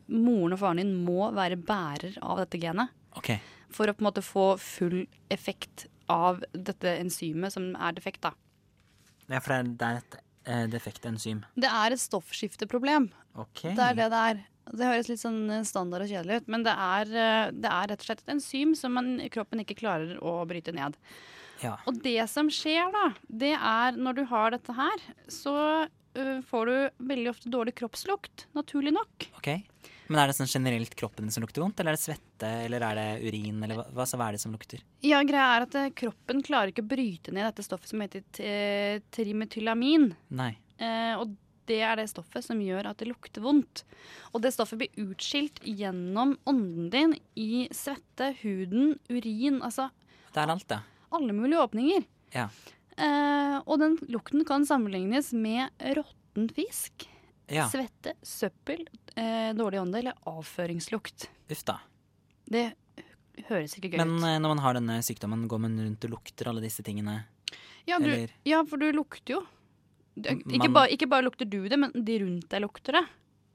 [SPEAKER 3] Moren og faren din må være bærer av dette genet.
[SPEAKER 2] Ok.
[SPEAKER 3] For å på en måte få full effekt av dette enzymet som er defekt, da.
[SPEAKER 2] Ja, for det er et eh, defekt enzym.
[SPEAKER 3] Det er et stoffskifteproblem.
[SPEAKER 2] Ok.
[SPEAKER 3] Det er det det er. Det høres litt sånn standard og kjedelig ut, men det er, eh, det er rett og slett et enzym som man, kroppen ikke klarer å bryte ned.
[SPEAKER 2] Ja.
[SPEAKER 3] Og det som skjer da, det er når du har dette her, så eh, får du veldig ofte dårlig kroppslukt, naturlig nok.
[SPEAKER 2] Ok. Men er det sånn generelt kroppen din som lukter vondt, eller er det svette, eller er det urin, eller hva, hva- så hva er det som lukter?
[SPEAKER 3] Ja, greia er at eh, kroppen klarer ikke å bryte ned dette stoffet som heter t- eh, trimetylamin.
[SPEAKER 2] Nei.
[SPEAKER 3] Eh, og det er det stoffet som gjør at det lukter vondt. Og det stoffet blir utskilt gjennom ånden din i svette, huden, urin, altså
[SPEAKER 2] Det er alt, det.
[SPEAKER 3] alle mulige åpninger.
[SPEAKER 2] Ja.
[SPEAKER 3] Eh, og den lukten kan sammenlignes med råtten fisk,
[SPEAKER 2] Ja.
[SPEAKER 3] svette, søppel, eh, dårlig ånde eller avføringslukt.
[SPEAKER 2] Uff da.
[SPEAKER 3] Det høres ikke gøy ut.
[SPEAKER 2] Men eh, når man har denne sykdommen, går man rundt og lukter alle disse tingene?
[SPEAKER 3] Ja, du,
[SPEAKER 2] Eller-
[SPEAKER 3] ja, for du lukter jo. Det,
[SPEAKER 2] M-
[SPEAKER 3] ikke,
[SPEAKER 2] man-
[SPEAKER 3] bare, ikke bare lukter du det, men de rundt deg lukter det.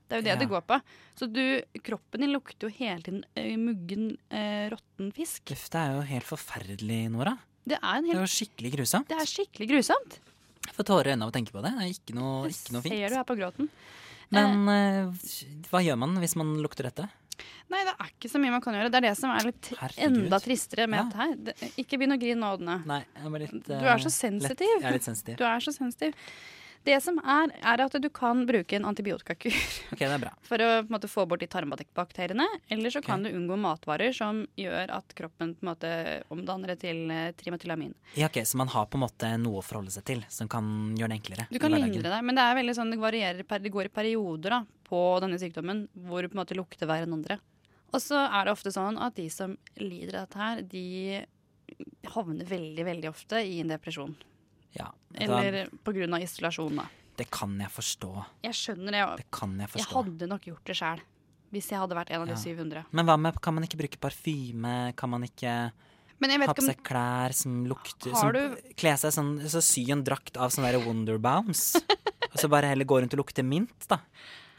[SPEAKER 3] Det er jo
[SPEAKER 2] Ja.
[SPEAKER 3] det det går på. Så du, kroppen din lukter jo hele tiden eh, muggen, eh, råtten fisk.
[SPEAKER 2] Uff, det er jo helt forferdelig, Nora.
[SPEAKER 3] Det er, en
[SPEAKER 2] Det er
[SPEAKER 3] helt,
[SPEAKER 2] jo skikkelig grusomt.
[SPEAKER 3] det er skikkelig grusomt.
[SPEAKER 2] Jeg får tårer i øynene av å tenke på det. Det er ikke noe, ikke noe
[SPEAKER 3] Ser du
[SPEAKER 2] fint.
[SPEAKER 3] her på gråten?
[SPEAKER 2] Men eh, hva gjør man hvis man lukter dette?
[SPEAKER 3] Nei, det er ikke så mye man kan gjøre. Det er det som er litt tri-
[SPEAKER 2] Herregud.
[SPEAKER 3] enda tristere med dette her. Det, ikke begynn å grine nå, Ådne.
[SPEAKER 2] Nei, jeg ble litt
[SPEAKER 3] Du
[SPEAKER 2] eh,
[SPEAKER 3] er så sensitiv.
[SPEAKER 2] lett- Jeg er litt sensitiv.
[SPEAKER 3] Du er så sensitiv. Det som er, er at du kan bruke en antibiotikakur.
[SPEAKER 2] Ok, det er bra.
[SPEAKER 3] For å på en måte, få bort de tarmbakteriene. Eller så kan du unngå matvarer som gjør at kroppen på en måte, omdanner det til eh, trimetylamin.
[SPEAKER 2] Ja, ok, Så man har på en måte noe å forholde seg til som kan gjøre det enklere?
[SPEAKER 3] Du kan
[SPEAKER 2] i hverdagen.
[SPEAKER 3] lindre deg, men det er veldig sånn, det varierer, per- det går i perioder da, på denne sykdommen hvor på en måte lukter hver enn andre. Og så er det ofte sånn at de som lider av dette her, de havner veldig, veldig ofte i en depresjon.
[SPEAKER 2] Ja, da,
[SPEAKER 3] Eller på grunn av isolasjon, da.
[SPEAKER 2] Det kan jeg forstå.
[SPEAKER 3] Jeg skjønner det. og
[SPEAKER 2] Det kan jeg
[SPEAKER 3] Jeg
[SPEAKER 2] forstå.
[SPEAKER 3] hadde nok gjort det sjæl hvis jeg hadde vært en av de
[SPEAKER 2] Ja.
[SPEAKER 3] 700.
[SPEAKER 2] Men hva med, kan man ikke bruke parfyme? Kan man ikke
[SPEAKER 3] Men
[SPEAKER 2] ha
[SPEAKER 3] jeg vet
[SPEAKER 2] på
[SPEAKER 3] ikke om
[SPEAKER 2] seg klær som lukter
[SPEAKER 3] Har
[SPEAKER 2] som,
[SPEAKER 3] du-
[SPEAKER 2] Kle seg sånn, så sy en drakt av sånn sånne der Wonderbounce. og så bare heller gå rundt og lukte mint, da.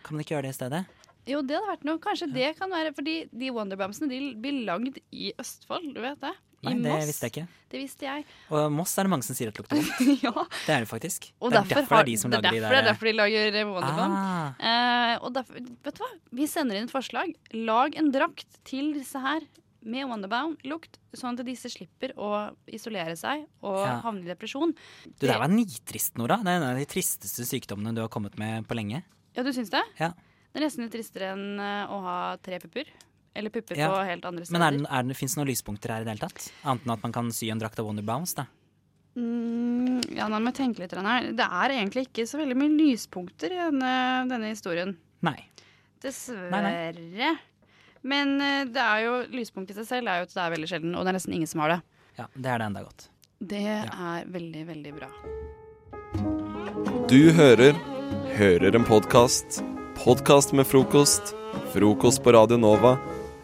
[SPEAKER 2] Kan man ikke gjøre det i stedet?
[SPEAKER 3] Jo, det hadde vært noe. Kanskje det kan være fordi de Wonderbamsene de blir lagd i Østfold, du vet det?
[SPEAKER 2] Nei,
[SPEAKER 3] I
[SPEAKER 2] det
[SPEAKER 3] Moss.
[SPEAKER 2] visste jeg ikke.
[SPEAKER 3] Det visste jeg.
[SPEAKER 2] Og Moss er det mange som sier at lukter vondt.
[SPEAKER 3] ja.
[SPEAKER 2] Det er det faktisk.
[SPEAKER 3] Og
[SPEAKER 2] det er derfor, det
[SPEAKER 3] har-
[SPEAKER 2] er de som
[SPEAKER 3] det er
[SPEAKER 2] lager de der
[SPEAKER 3] derfor Det er derfor de lager eh, Wonderbam.
[SPEAKER 2] Ah,
[SPEAKER 3] Eh, og derfor, vet du hva? Vi sender inn et forslag. Lag en drakt til disse her med Wonderbound-lukt, sånn at disse slipper å isolere seg og
[SPEAKER 2] Ja.
[SPEAKER 3] havne i depresjon.
[SPEAKER 2] Du, det her var nitrist, Nora. Det er en av de tristeste sykdommene du har kommet med på lenge.
[SPEAKER 3] Ja, du syns det?
[SPEAKER 2] Ja.
[SPEAKER 3] Det er nesten litt tristere enn eh, å ha tre pupper. Eller pupper
[SPEAKER 2] Ja.
[SPEAKER 3] på helt andre steder.
[SPEAKER 2] Men er det, er det, fins det noen lyspunkter her i det hele tatt? Annet enn at man kan sy en drakt av Wonderbounce, da.
[SPEAKER 3] Mm, ja, nå må jeg tenke litt grann her. Det er egentlig ikke så veldig mye lyspunkter i denne, denne historien.
[SPEAKER 2] Nei.
[SPEAKER 3] Dessverre.
[SPEAKER 2] Nei,
[SPEAKER 3] Men eh, det er jo, lyspunktet i seg selv er jo at det er veldig sjelden, og det er nesten ingen som har det.
[SPEAKER 2] Ja, det er det enda godt.
[SPEAKER 3] Det er veldig, veldig bra.
[SPEAKER 1] Du hører Hører en podkast. Podkast med frokost. Frokost på Radio Nova.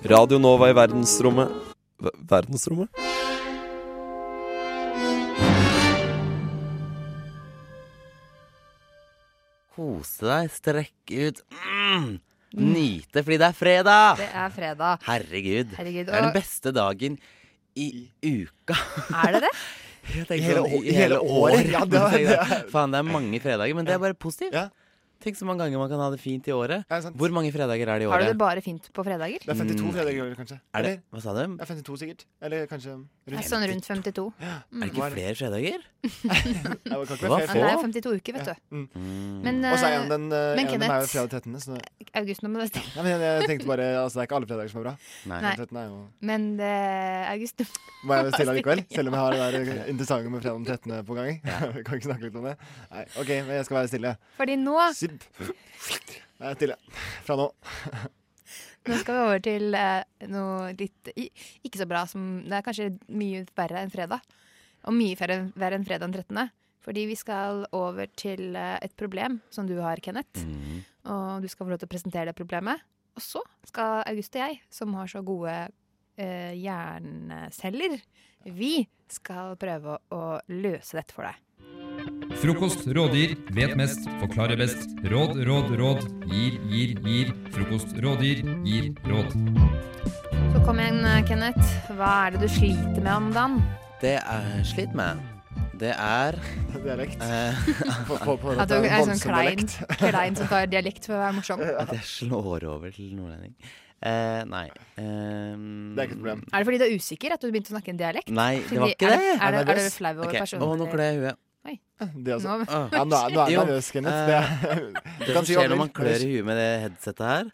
[SPEAKER 1] Radio Nova i verdensrommet Ver- Verdensrommet?
[SPEAKER 12] Kose deg, strekke ut. Mm. Nyte, fordi det er fredag!
[SPEAKER 13] Det er fredag.
[SPEAKER 12] Herregud.
[SPEAKER 13] Herregud,
[SPEAKER 12] Det er
[SPEAKER 13] og-
[SPEAKER 12] den beste dagen i uka.
[SPEAKER 13] Er det det?
[SPEAKER 12] Jeg tenker
[SPEAKER 14] Hele
[SPEAKER 12] sånn,
[SPEAKER 14] å- i hele året. Ja, det er-
[SPEAKER 12] Faen, det er mange fredager, men det er bare positivt. Tenk så mange ganger man kan ha det fint i året. Hvor mange fredager er det i
[SPEAKER 3] Har du
[SPEAKER 12] året?
[SPEAKER 3] det bare fint på fredager?
[SPEAKER 14] Det er 52
[SPEAKER 12] Mm.
[SPEAKER 14] fredager i året, kanskje.
[SPEAKER 12] Er det,
[SPEAKER 14] Eller?
[SPEAKER 12] hva sa du?
[SPEAKER 14] Det er 52 sikkert. Eller kanskje rundt.
[SPEAKER 3] Det er Sånn rundt 52.
[SPEAKER 12] Er det ikke flere fredager?
[SPEAKER 14] Nei, det kan ikke
[SPEAKER 12] Hva
[SPEAKER 14] være
[SPEAKER 3] Nei,
[SPEAKER 14] flere.
[SPEAKER 3] det er 52 uker, vet du.
[SPEAKER 14] Mm.
[SPEAKER 3] Men,
[SPEAKER 14] Og så er
[SPEAKER 3] eh,
[SPEAKER 14] en den,
[SPEAKER 3] men
[SPEAKER 14] eh, en av dem er jo
[SPEAKER 3] Kenneth-
[SPEAKER 14] fredag 13. Så det,
[SPEAKER 3] August, nå må du stille.
[SPEAKER 14] Nei, men jeg tenkte bare, altså, det er ikke alle fredager som er bra.
[SPEAKER 3] Nei.
[SPEAKER 14] Fredag 13 er jo,
[SPEAKER 3] Men eh, August
[SPEAKER 14] må jeg stille likevel, selv om jeg har det der eh, interessante med fredag den 13. på gang. kan ikke snakke litt om det. Nei, OK, men jeg skal være stille.
[SPEAKER 3] Fordi nå,
[SPEAKER 14] Sipp. Nei, stille. Fra nå.
[SPEAKER 3] nå skal vi over til eh, noe litt i- ikke så bra som Det er kanskje mye verre enn fredag. Og mye verre, verre enn fredag den 13. Fordi vi skal over til eh, et problem som du har, Kenneth. Og du skal få lov til å presentere det problemet. Og så skal August og jeg, som har så gode eh, hjerneceller, vi skal prøve å løse dette for deg.
[SPEAKER 15] Frokost rådgir, vet mest, forklarer best. Råd, råd, råd. Gir, gir, gir. Frokost rådgir, gir råd.
[SPEAKER 3] Så kom igjen, eh, Kenneth. Hva er det du sliter med om dagen?
[SPEAKER 12] Det er slitt med. Det er
[SPEAKER 14] Dialekt.
[SPEAKER 12] Eh.
[SPEAKER 3] At du er sånn klein, klein som tar dialekt for å være morsom?
[SPEAKER 12] At jeg slår over til nordlending. Eh, nei. det er ikke et problem.
[SPEAKER 3] Er det fordi du er usikker at du begynte å snakke en dialekt?
[SPEAKER 12] Nei, det var
[SPEAKER 3] Fordi-
[SPEAKER 12] ikke
[SPEAKER 3] er Er,
[SPEAKER 12] det. Jeg
[SPEAKER 3] det,
[SPEAKER 12] er
[SPEAKER 3] er, du
[SPEAKER 12] nervøs.
[SPEAKER 3] flau over
[SPEAKER 12] Ok,
[SPEAKER 3] personen?
[SPEAKER 12] å, nå klør jeg i huet.
[SPEAKER 3] Oi.
[SPEAKER 14] Det altså.
[SPEAKER 3] Nå-
[SPEAKER 14] Ah. Ja, nå er- nå er jeg
[SPEAKER 12] Jo,
[SPEAKER 14] nervøs, Kenneth.
[SPEAKER 12] eh,
[SPEAKER 14] Det er- du
[SPEAKER 12] Det
[SPEAKER 14] kan
[SPEAKER 12] som
[SPEAKER 14] si
[SPEAKER 12] skjer
[SPEAKER 14] over.
[SPEAKER 12] når man klør i huet med det headsetet her,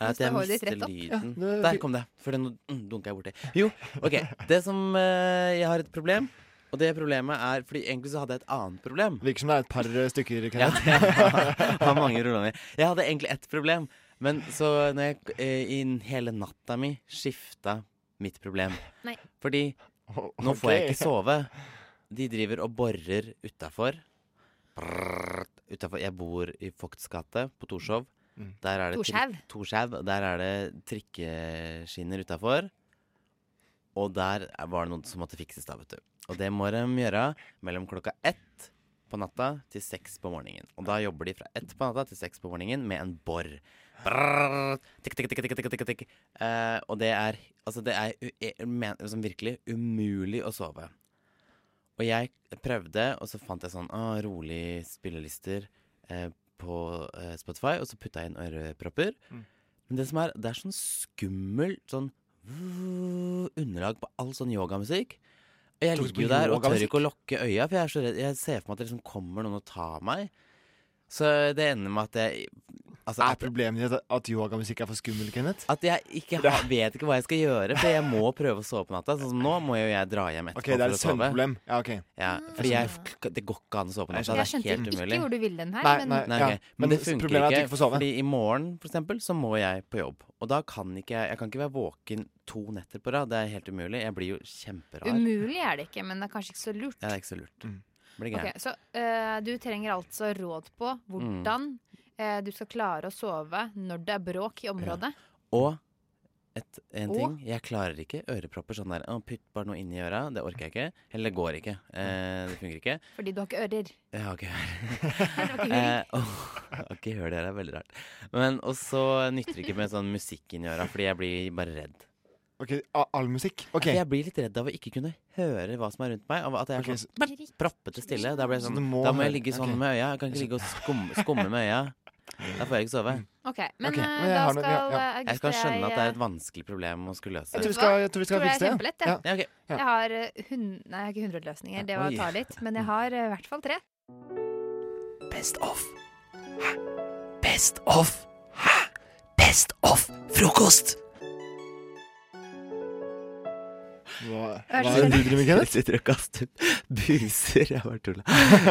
[SPEAKER 12] er at
[SPEAKER 14] står
[SPEAKER 12] jeg
[SPEAKER 14] håret ditt
[SPEAKER 12] mister
[SPEAKER 14] rett opp.
[SPEAKER 12] lyden.
[SPEAKER 14] Ja, det-
[SPEAKER 12] Der kom det. For nå mm, dunka jeg borti. Jo, OK. Det som eh, Jeg har et problem. Og det problemet er Fordi egentlig så hadde jeg et annet problem.
[SPEAKER 14] Virker som det er et par eh, stykker,
[SPEAKER 12] Ja,
[SPEAKER 14] Kenneth.
[SPEAKER 12] jeg har mange rullaner. Jeg hadde egentlig ett problem, men så når jeg eh, i hele natta mi skifta mitt problem.
[SPEAKER 3] Nei.
[SPEAKER 12] Fordi
[SPEAKER 14] Å,
[SPEAKER 12] nå får jeg
[SPEAKER 14] ok.
[SPEAKER 12] ikke sove. De driver og borer utafor. Utafor Jeg bor i Vogts gate på Torshov. Der er det tri-
[SPEAKER 3] Torshov?
[SPEAKER 12] Torshov. Der er det trikkeskinner utafor. Og der var det noe som måtte fikses, da, vet du. Og det må de gjøre mellom klokka ett på natta til seks på morgenen. Og da jobber de fra ett på natta til seks på morgenen med en bor. Brrrr, tikk, tikk, tikk, tikk, tikk, tikk, tikk. Eh, og det er, altså det er u jeg men, liksom virkelig umulig å sove. Og jeg prøvde, og så fant jeg sånn ah, rolig spillelister eh, på eh, Spotify, og så putta jeg inn ørepropper.
[SPEAKER 14] Mm.
[SPEAKER 12] Men det som er, det er sånn skummelt sånn vuh, underlag på all sånn yogamusikk. Og jeg
[SPEAKER 14] Tok du
[SPEAKER 12] ligger
[SPEAKER 14] på
[SPEAKER 12] jo der og tør
[SPEAKER 14] yogamusikk?
[SPEAKER 12] ikke å lukke øya, for jeg er så redd. Jeg ser for meg at det liksom kommer noen og tar meg. Så det ender med at jeg altså,
[SPEAKER 14] Er problemet ditt at yogamusikk er for skummel, Kenneth?
[SPEAKER 12] At jeg ikke ha, vet ikke hva jeg skal gjøre, for jeg må prøve å sove på natta. Sånn som nå må jo jeg dra hjem etterpå
[SPEAKER 14] Ok, det er
[SPEAKER 12] for
[SPEAKER 14] et
[SPEAKER 12] å sove.
[SPEAKER 14] søvnproblem. Ja, ok.
[SPEAKER 12] Ja, fordi jeg, det går ikke an å sove på
[SPEAKER 14] Jeg
[SPEAKER 12] natta.
[SPEAKER 14] skjønner.
[SPEAKER 12] Det er
[SPEAKER 14] Jeg skjønte
[SPEAKER 12] helt
[SPEAKER 14] ikke
[SPEAKER 12] umulig.
[SPEAKER 3] hvor du ville den her,
[SPEAKER 14] Nei, men- nei,
[SPEAKER 12] Nei,
[SPEAKER 14] ja.
[SPEAKER 12] ok.
[SPEAKER 14] Men
[SPEAKER 12] Men det
[SPEAKER 14] s-
[SPEAKER 12] funker
[SPEAKER 14] problemet er at du
[SPEAKER 12] ikke,
[SPEAKER 14] ikke får sove.
[SPEAKER 12] fordi i morgen for eksempel, så må jeg på jobb. Og da kan ikke jeg, jeg kan ikke være våken to netter på rad. Det er helt umulig. Jeg blir jo kjemperar.
[SPEAKER 3] Umulig er det ikke, men det er kanskje ikke så lurt.
[SPEAKER 12] Ja, det er ikke så lurt.
[SPEAKER 14] Mm.
[SPEAKER 12] Blir
[SPEAKER 3] Ok,
[SPEAKER 12] gæren.
[SPEAKER 3] så eh, du trenger altså råd på hvordan eh, du skal klare å sove når det er bråk i området.
[SPEAKER 12] Og et, en
[SPEAKER 3] Og?
[SPEAKER 12] ting. Jeg klarer ikke ørepropper sånn der. Å, putt bare noe inn i øra. Det orker jeg ikke. Eller det går ikke. Eh, det funker ikke.
[SPEAKER 3] Fordi du har ikke ører.
[SPEAKER 12] Jeg har ikke
[SPEAKER 3] var ikke
[SPEAKER 12] hørt.
[SPEAKER 3] høring.
[SPEAKER 12] Eh, åh, jeg har ikke hørt det her, er veldig rart. Men Og så nytter det ikke med sånn musikk inni øra, fordi jeg blir bare redd.
[SPEAKER 14] Ok, a- All musikk? Ok.
[SPEAKER 12] For Jeg blir litt redd av å ikke kunne høre hva som er rundt meg. Av at jeg er
[SPEAKER 14] Ok,
[SPEAKER 12] sånn bært, proppete stille. Da, blir jeg
[SPEAKER 14] Så
[SPEAKER 12] sånn,
[SPEAKER 14] du må
[SPEAKER 12] da må jeg
[SPEAKER 14] høre-
[SPEAKER 12] ligge sånn
[SPEAKER 14] ok.
[SPEAKER 12] med øya. Jeg kan ikke ligge og skumme, skumme med øya. Da får jeg ikke sove.
[SPEAKER 16] Mm.
[SPEAKER 3] Ok, men
[SPEAKER 12] Ok.
[SPEAKER 3] eh,
[SPEAKER 12] Men jeg
[SPEAKER 3] da
[SPEAKER 12] har
[SPEAKER 3] skal
[SPEAKER 12] noe- ja, ja.
[SPEAKER 3] eh, August
[SPEAKER 12] Jeg skal
[SPEAKER 3] og
[SPEAKER 12] skjønne at det
[SPEAKER 3] eh,
[SPEAKER 12] er et vanskelig problem å skulle løse.
[SPEAKER 3] Vet du hva? jeg er kjempelett, jeg.
[SPEAKER 12] Ja, ok.
[SPEAKER 3] Jeg har eh, hun- Nei, jeg har ikke 100 løsninger, det var å
[SPEAKER 12] Oi.
[SPEAKER 3] ta litt. Men jeg har eh, i hvert fall tre.
[SPEAKER 16] Best of. Hæ? Best of. Hæ? Best of frokost!
[SPEAKER 14] Hva,
[SPEAKER 3] Hva er det
[SPEAKER 14] hva
[SPEAKER 3] som
[SPEAKER 14] er det
[SPEAKER 3] skjer?
[SPEAKER 14] du driver med, Kenneth?
[SPEAKER 12] Jeg sitter og kaster buser. Jeg bare tulla.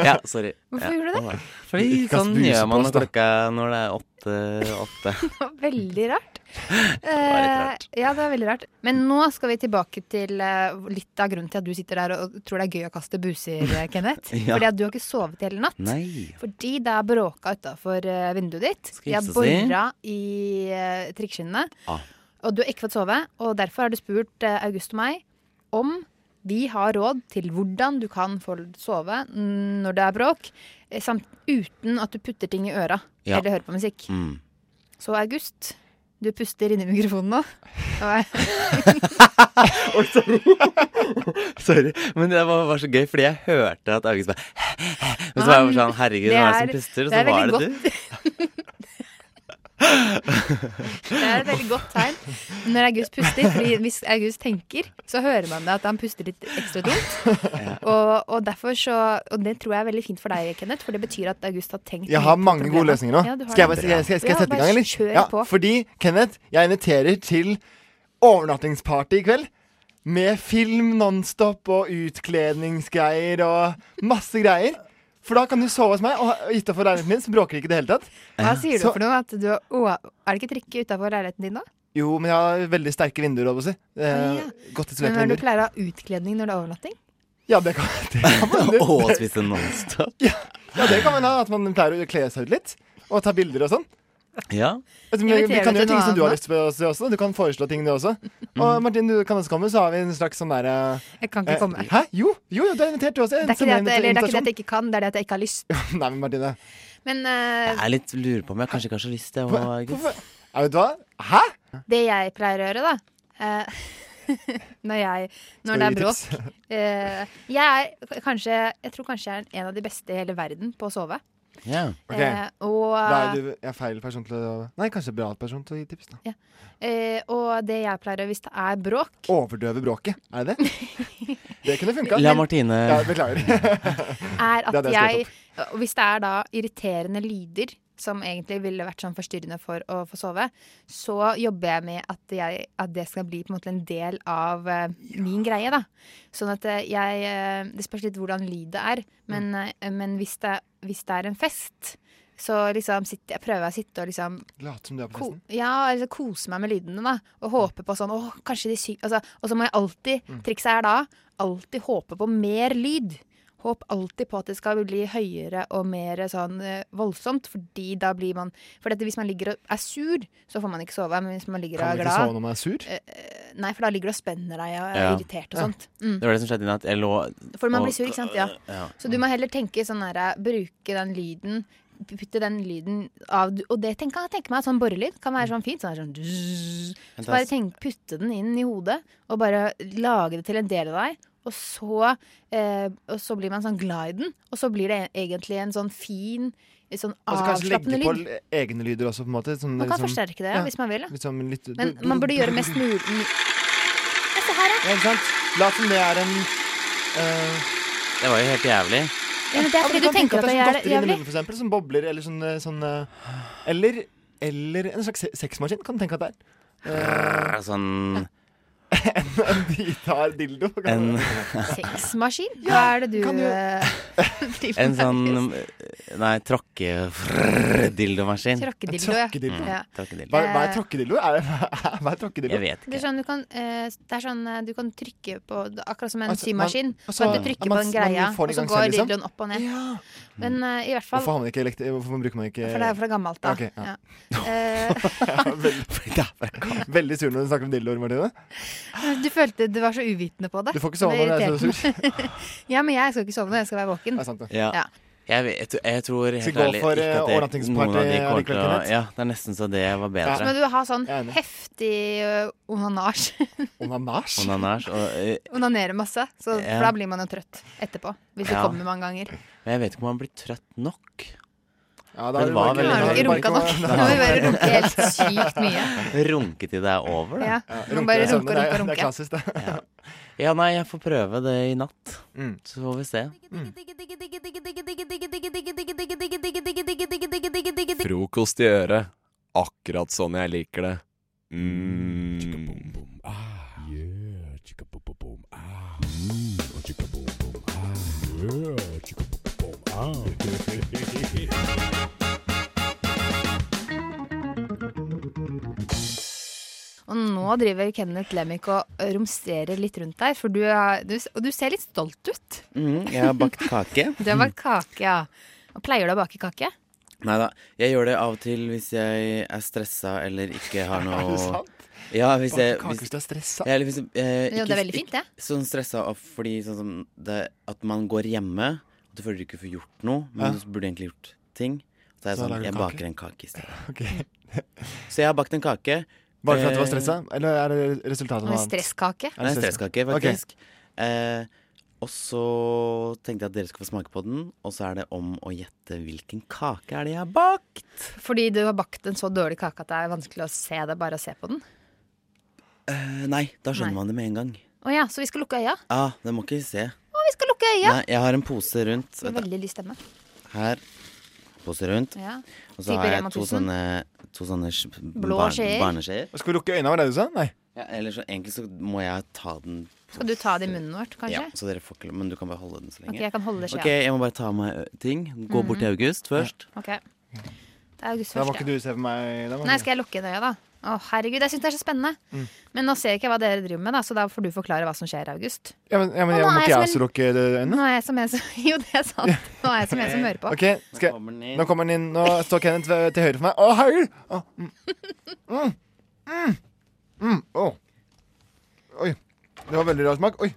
[SPEAKER 12] Ja, sorry.
[SPEAKER 3] Hvorfor gjorde du det?
[SPEAKER 12] Åh, Fordi
[SPEAKER 14] Ikke kast
[SPEAKER 12] sånn
[SPEAKER 14] buser
[SPEAKER 12] gjør
[SPEAKER 14] på
[SPEAKER 12] man
[SPEAKER 14] oss,
[SPEAKER 12] når
[SPEAKER 14] da.
[SPEAKER 12] klokka når det er åtte. åtte.
[SPEAKER 3] Det var veldig rart.
[SPEAKER 12] rart.
[SPEAKER 3] Eh, ja, det var veldig rart. Men nå skal vi tilbake til eh, litt av grunnen til at du sitter der og tror det er gøy å kaste buser, eh, Kenneth.
[SPEAKER 12] Ja.
[SPEAKER 3] Fordi at du har ikke sovet i hele natt.
[SPEAKER 12] Nei.
[SPEAKER 3] Fordi det er bråka utafor vinduet ditt. De har
[SPEAKER 12] hilse og si.
[SPEAKER 3] bora i uh, trikkskinnene.
[SPEAKER 12] Ah.
[SPEAKER 3] Og du har ikke fått sove. Og derfor har du spurt eh, August og meg om vi har råd til hvordan du kan få sove mm, når det er bråk, eh, samt uten at du putter ting i øra
[SPEAKER 12] Ja.
[SPEAKER 3] eller hører på musikk.
[SPEAKER 12] Mm.
[SPEAKER 3] Så August, du puster inni mikrofonen nå.
[SPEAKER 12] Oi, sorry. sorry. Men det var, var så gøy, fordi jeg hørte at August bare Men så var jeg bare sånn Herregud,
[SPEAKER 3] Det
[SPEAKER 12] hva er
[SPEAKER 3] er-
[SPEAKER 12] det som puster?
[SPEAKER 3] det
[SPEAKER 12] Og så
[SPEAKER 3] er
[SPEAKER 12] var
[SPEAKER 3] veldig
[SPEAKER 12] det du.
[SPEAKER 3] Det er et veldig godt tegn når August puster. Fordi hvis August tenker, så hører man det at han puster litt ekstra tungt. Og, og derfor så Og det tror jeg er veldig fint for deg, Kenneth, for det betyr at August har tenkt
[SPEAKER 14] Jeg
[SPEAKER 3] mye
[SPEAKER 14] har
[SPEAKER 3] på
[SPEAKER 14] mange gode
[SPEAKER 3] problemet.
[SPEAKER 14] løsninger nå.
[SPEAKER 3] Ja, du har
[SPEAKER 14] skal jeg,
[SPEAKER 3] det.
[SPEAKER 14] bare- skal jeg, skal jeg, skal jeg
[SPEAKER 3] Ja,
[SPEAKER 14] sette i
[SPEAKER 3] bare
[SPEAKER 14] gang, eller?
[SPEAKER 3] Kjør
[SPEAKER 14] Ja,
[SPEAKER 3] på.
[SPEAKER 14] fordi, Kenneth, jeg inviterer til overnattingsparty i kveld. Med film nonstop og utkledningsgreier og masse greier. For da kan du sove hos meg, og utafor leiligheten min så bråker det ikke i det hele tatt.
[SPEAKER 3] Hva sier du
[SPEAKER 14] Så-
[SPEAKER 3] for noe? At du, å, er det ikke trikk utafor leiligheten din da?
[SPEAKER 14] Jo, men jeg har veldig sterke vinduer, holdt jeg på å si. Eh, Godt
[SPEAKER 3] Men
[SPEAKER 14] isolerte
[SPEAKER 3] hva er det
[SPEAKER 14] vinduer.
[SPEAKER 3] du pleier å ha utkledning når det er overnatting?
[SPEAKER 14] Ja, det kan, det kan man gjøre.
[SPEAKER 12] Og spise Nonstop.
[SPEAKER 14] Ja, det kan man ha, at man pleier å kle seg ut litt. Og ta bilder og sånn.
[SPEAKER 12] Ja.
[SPEAKER 14] Altså, men,
[SPEAKER 3] Inviterer
[SPEAKER 14] vi kan
[SPEAKER 3] du
[SPEAKER 14] gjøre
[SPEAKER 3] til
[SPEAKER 14] ting
[SPEAKER 3] noe
[SPEAKER 14] som du har
[SPEAKER 3] annet?
[SPEAKER 14] lyst på også. også. Du kan foreslå ting, du også.
[SPEAKER 12] Mm.
[SPEAKER 14] Og Martin, du kan også komme, så har vi en slags sånn derre
[SPEAKER 3] Jeg kan ikke komme.
[SPEAKER 14] Hæ? Jo, jo, jo, du er invitert, du også.
[SPEAKER 3] Det er, ikke det, at, eller, det er ikke det at jeg ikke kan, det er det at jeg ikke har lyst.
[SPEAKER 14] Nei, men Martine.
[SPEAKER 3] Men eh,
[SPEAKER 12] Jeg er litt lurer på om jeg kanskje ikke har så lyst til å
[SPEAKER 14] Hvorfor? Ja, vet du hva? Hæ?
[SPEAKER 3] det jeg pleier å gjøre, da eh, Når, jeg,
[SPEAKER 14] Skal
[SPEAKER 3] når det er
[SPEAKER 14] du gi
[SPEAKER 3] bråk
[SPEAKER 14] tips?
[SPEAKER 3] eh, Jeg er kanskje Jeg tror kanskje jeg er en av de beste i hele verden på å sove.
[SPEAKER 12] Ja.
[SPEAKER 14] Ok.
[SPEAKER 3] Eh, og,
[SPEAKER 14] Da er du jeg er feil person til å Nei, kanskje bra person til å gi tips, da.
[SPEAKER 3] eh, og det jeg pleier å gjøre hvis det er bråk
[SPEAKER 14] Overdøve bråket, er det det? Det kunne funka.
[SPEAKER 12] La Martine-
[SPEAKER 14] Ja, beklager.
[SPEAKER 3] er
[SPEAKER 14] Det
[SPEAKER 3] at
[SPEAKER 14] hadde jeg
[SPEAKER 3] jeg og Hvis det er da irriterende lyder som egentlig ville vært sånn forstyrrende for å få sove, så jobber jeg med at, jeg, at det skal bli på en måte en del av eh, min greie. da. Sånn at eh, jeg eh, Det spørs litt hvordan lydet er, men, eh, men hvis, det, hvis det er en fest, så liksom sitter, jeg prøver jeg å sitte og liksom
[SPEAKER 14] Late som du er på
[SPEAKER 3] Ko
[SPEAKER 14] festen.
[SPEAKER 3] ja, eller så kose meg med lydene, da. Og håpe på sånn Åh, kanskje de synger altså, Og så må jeg alltid
[SPEAKER 14] Mm.
[SPEAKER 3] Trikset er da alltid håpe på mer lyd. Håp alltid på at det skal bli høyere og mer sånn eh, voldsomt, fordi da blir man For dette, hvis man ligger og er sur, så får man ikke sove. Men hvis man ligger
[SPEAKER 14] Kan
[SPEAKER 3] og er
[SPEAKER 14] du ikke
[SPEAKER 3] glad
[SPEAKER 14] sove når man er sur?
[SPEAKER 3] Eh, eh, Nei, for da ligger du og spenner deg og er
[SPEAKER 12] sånn- Ja.
[SPEAKER 3] irritert og
[SPEAKER 12] Ja.
[SPEAKER 3] sånt. Mm.
[SPEAKER 12] Det var det som skjedde i natt. Jeg lå
[SPEAKER 3] For man
[SPEAKER 12] og-
[SPEAKER 3] blir sur, ikke sant? Ja.
[SPEAKER 12] Ja.
[SPEAKER 3] Så du må heller tenke sånn her Bruke den lyden Putte den lyden av Og det tenker jeg tenker meg at Sånn borrelyd kan
[SPEAKER 14] Mm.
[SPEAKER 3] være sånn fint Sånn her sånn dzz. Så bare tenk, putte den inn i hodet Og bare lage det til en del av deg og så, eh, og så blir man sånn glad i den Og så blir det egentlig en sånn fin Sånn
[SPEAKER 14] Og så Altså, kanskje
[SPEAKER 3] avslappende
[SPEAKER 14] legge på
[SPEAKER 3] lyd
[SPEAKER 14] l- egne lyder også, på en måte. sånn-
[SPEAKER 3] Man kan
[SPEAKER 14] sånn-
[SPEAKER 3] forsterke det, hvis man vil, ja.
[SPEAKER 14] Litt sånn litt-
[SPEAKER 3] Men man burde gjøre mest mulig
[SPEAKER 14] Ja, ikke sant? Lat som det er en eh,
[SPEAKER 12] Det var jo helt jævlig.
[SPEAKER 3] Ja, men det er
[SPEAKER 14] ja,
[SPEAKER 3] fordi
[SPEAKER 14] kan
[SPEAKER 3] du tenker at
[SPEAKER 14] tenke det
[SPEAKER 3] jeg er
[SPEAKER 14] er sånn godteri inni
[SPEAKER 3] jævlig.
[SPEAKER 14] munnen, for eksempel, som bobler, eller sånn, eh, sånn eh, Eller, eller en slags se- sexmaskin, kan du tenke at det er. Eh.
[SPEAKER 12] Brrr, Sånn
[SPEAKER 14] En bitar dildo. Kan
[SPEAKER 12] En,
[SPEAKER 3] Sexmaskin? Hva er det du,
[SPEAKER 14] kan du-
[SPEAKER 3] eh, driver
[SPEAKER 12] en
[SPEAKER 3] med?
[SPEAKER 12] sånn Nei, tråkke-dildomaskin.
[SPEAKER 3] Tråkkedildo, ja.
[SPEAKER 14] Tråkkedildo.
[SPEAKER 3] Ja.
[SPEAKER 12] Tråkkedildo.
[SPEAKER 14] Hva, hva er tråkkedildo? Er, det- hva er tråkkedildo?
[SPEAKER 12] Jeg vet
[SPEAKER 3] Det er sånn du kan, eh, det er sånn eh, du kan trykke på det er Akkurat som en
[SPEAKER 14] Altså,
[SPEAKER 3] symaskin.
[SPEAKER 14] man- altså,
[SPEAKER 3] så at du trykker
[SPEAKER 14] man-
[SPEAKER 3] på den
[SPEAKER 14] man
[SPEAKER 3] greia,
[SPEAKER 14] får
[SPEAKER 3] og
[SPEAKER 14] den i
[SPEAKER 3] så
[SPEAKER 14] gang
[SPEAKER 3] går
[SPEAKER 14] selv, liksom. Mm.
[SPEAKER 3] dildoen opp og ned. Men eh, i hvert fall
[SPEAKER 14] Hvorfor, har man ikke elektri hvorfor bruker man ikke
[SPEAKER 3] For det er fra gammelt, da.
[SPEAKER 14] Ok, ja.
[SPEAKER 3] Ja. Eh,
[SPEAKER 14] veldig, veldig sur når du snakker om dildoer, Martine.
[SPEAKER 3] du følte du var så uvitende på det.
[SPEAKER 14] Du får ikke sove
[SPEAKER 3] Det
[SPEAKER 14] når du er så
[SPEAKER 3] irriterte meg. ja, men jeg skal ikke sove når jeg skal være
[SPEAKER 14] Altså,
[SPEAKER 3] våken.
[SPEAKER 12] Ja.
[SPEAKER 3] Ja.
[SPEAKER 12] Jeg, vet- jeg, tror- jeg tror helt
[SPEAKER 14] Skal vi gå
[SPEAKER 12] ærlig
[SPEAKER 14] for,
[SPEAKER 12] ikke at
[SPEAKER 14] eh,
[SPEAKER 12] det-
[SPEAKER 14] overnattingsparty
[SPEAKER 12] noen av de kommer
[SPEAKER 14] allikevel,
[SPEAKER 12] til å-
[SPEAKER 14] Kenneth?
[SPEAKER 12] Ja, det er nesten så det var
[SPEAKER 3] Så må
[SPEAKER 12] bedre.
[SPEAKER 3] du ha sånn
[SPEAKER 14] Jeg er enig.
[SPEAKER 3] heftig eh, onanasj.
[SPEAKER 14] Onanasj?
[SPEAKER 12] Onanasj. Og, eh,
[SPEAKER 3] Onanere masse. Så,
[SPEAKER 12] Ja.
[SPEAKER 3] For da blir man jo trøtt etterpå. Hvis du
[SPEAKER 12] Ja.
[SPEAKER 3] kommer mange ganger.
[SPEAKER 12] men jeg vet ikke om han blir trøtt nok.
[SPEAKER 14] Ja,
[SPEAKER 3] da har du bare- Da har du ikke runka nok. Da har du bare runket helt sykt mye.
[SPEAKER 12] Runke til det er over, da.
[SPEAKER 3] Ja, man bare runker, runker, runker.
[SPEAKER 14] Det er klassisk, det.
[SPEAKER 12] Ja. ja, nei, jeg får prøve det i natt. Så får vi se.
[SPEAKER 14] Mm.
[SPEAKER 1] Frokost i øret. Akkurat sånn jeg liker det. Mm.
[SPEAKER 3] Og nå driver Kenneth Lemmick og romsterer litt rundt deg, for du, er, du, og du ser litt stolt ut.
[SPEAKER 12] Mm, jeg har bakt kake.
[SPEAKER 3] Du har bakt kake, ja. Og pleier du å bake kake?
[SPEAKER 12] Nei da. Jeg gjør det av og til hvis jeg er stressa eller ikke har noe
[SPEAKER 3] Er det sant?
[SPEAKER 12] Ja, hvis
[SPEAKER 3] Bake
[SPEAKER 12] jeg
[SPEAKER 3] kake
[SPEAKER 12] hvis-
[SPEAKER 3] hvis du er stressa?
[SPEAKER 12] Ja, eller hvis jeg, eh,
[SPEAKER 3] Jo, det er veldig fint, det.
[SPEAKER 12] Ikke, sånn stressa av fordi sånn som det, at man går hjemme, og du føler du ikke får gjort noe, men
[SPEAKER 14] Ja.
[SPEAKER 12] du burde egentlig gjort ting. Så er jeg
[SPEAKER 14] Så da lager
[SPEAKER 12] sånn
[SPEAKER 14] du
[SPEAKER 12] Jeg
[SPEAKER 14] kake?
[SPEAKER 12] baker en kake i stedet.
[SPEAKER 14] Ok.
[SPEAKER 12] Så jeg har bakt en kake.
[SPEAKER 14] Bare for at du var
[SPEAKER 12] Eh,
[SPEAKER 14] stressa? Eller er det resultatet
[SPEAKER 3] En stresskake?
[SPEAKER 12] Det er en stresskake, faktisk. Eh, Og så tenkte jeg at dere skulle få smake på den, og så er det om å gjette hvilken kake er det jeg har bakt.
[SPEAKER 3] Fordi du har bakt en så dårlig kake at det er vanskelig å se det bare å se på den.
[SPEAKER 12] Eh, nei, da skjønner man det med en gang.
[SPEAKER 3] Å ja, så vi skal lukke øya?
[SPEAKER 12] Ja, ah, det må ikke vi se.
[SPEAKER 3] Å, vi skal lukke øya!
[SPEAKER 12] Nei, jeg har en pose rundt.
[SPEAKER 3] Med veldig lys stemme.
[SPEAKER 12] Her. Pose rundt.
[SPEAKER 3] Ja.
[SPEAKER 12] Og så
[SPEAKER 3] Type
[SPEAKER 12] har
[SPEAKER 3] Rema
[SPEAKER 12] jeg to
[SPEAKER 3] 1000.
[SPEAKER 12] sånne, to sånne sk-
[SPEAKER 3] Blå
[SPEAKER 12] barn-
[SPEAKER 3] skjeer.
[SPEAKER 12] barneskjeer.
[SPEAKER 14] Skal vi lukke øynene, var det du sa? Nei.
[SPEAKER 12] Ja, eller så egentlig så må jeg ta den
[SPEAKER 3] Skal du ta det i munnen vårt, kanskje?
[SPEAKER 12] Ja, så dere får ikke Men du kan bare holde den så lenge.
[SPEAKER 3] Ok, jeg kan holde skjea.
[SPEAKER 12] Ok, jeg må bare ta av meg ø, ting. Gå bort til
[SPEAKER 3] Mhm.
[SPEAKER 12] August først.
[SPEAKER 3] Ok. Det er august
[SPEAKER 14] Da var
[SPEAKER 3] først,
[SPEAKER 14] ikke du se på meg. Da var
[SPEAKER 3] Nei,
[SPEAKER 14] det-
[SPEAKER 3] skal jeg lukke inn øya, da? Å, herregud, jeg syns det er så spennende.
[SPEAKER 14] Mm.
[SPEAKER 3] Men nå ser jeg ikke hva dere driver med, da, så da får du forklare hva som skjer i august.
[SPEAKER 14] Ja, men, ja, men
[SPEAKER 3] Å,
[SPEAKER 14] jeg,
[SPEAKER 3] nå er
[SPEAKER 14] må ikke
[SPEAKER 3] jeg som
[SPEAKER 14] jeg også lukke øynene?
[SPEAKER 3] Nå er jeg som en som Jo, det er sant. Nå er jeg som en som hører på.
[SPEAKER 14] Ok, skal jeg, nå kommer den inn. Nå står Kenneth ved- til høyre for meg. Å, herregud! Å, mm. Mm. Mm. Mm. Å. Oi. Det var veldig rar smak. Oi.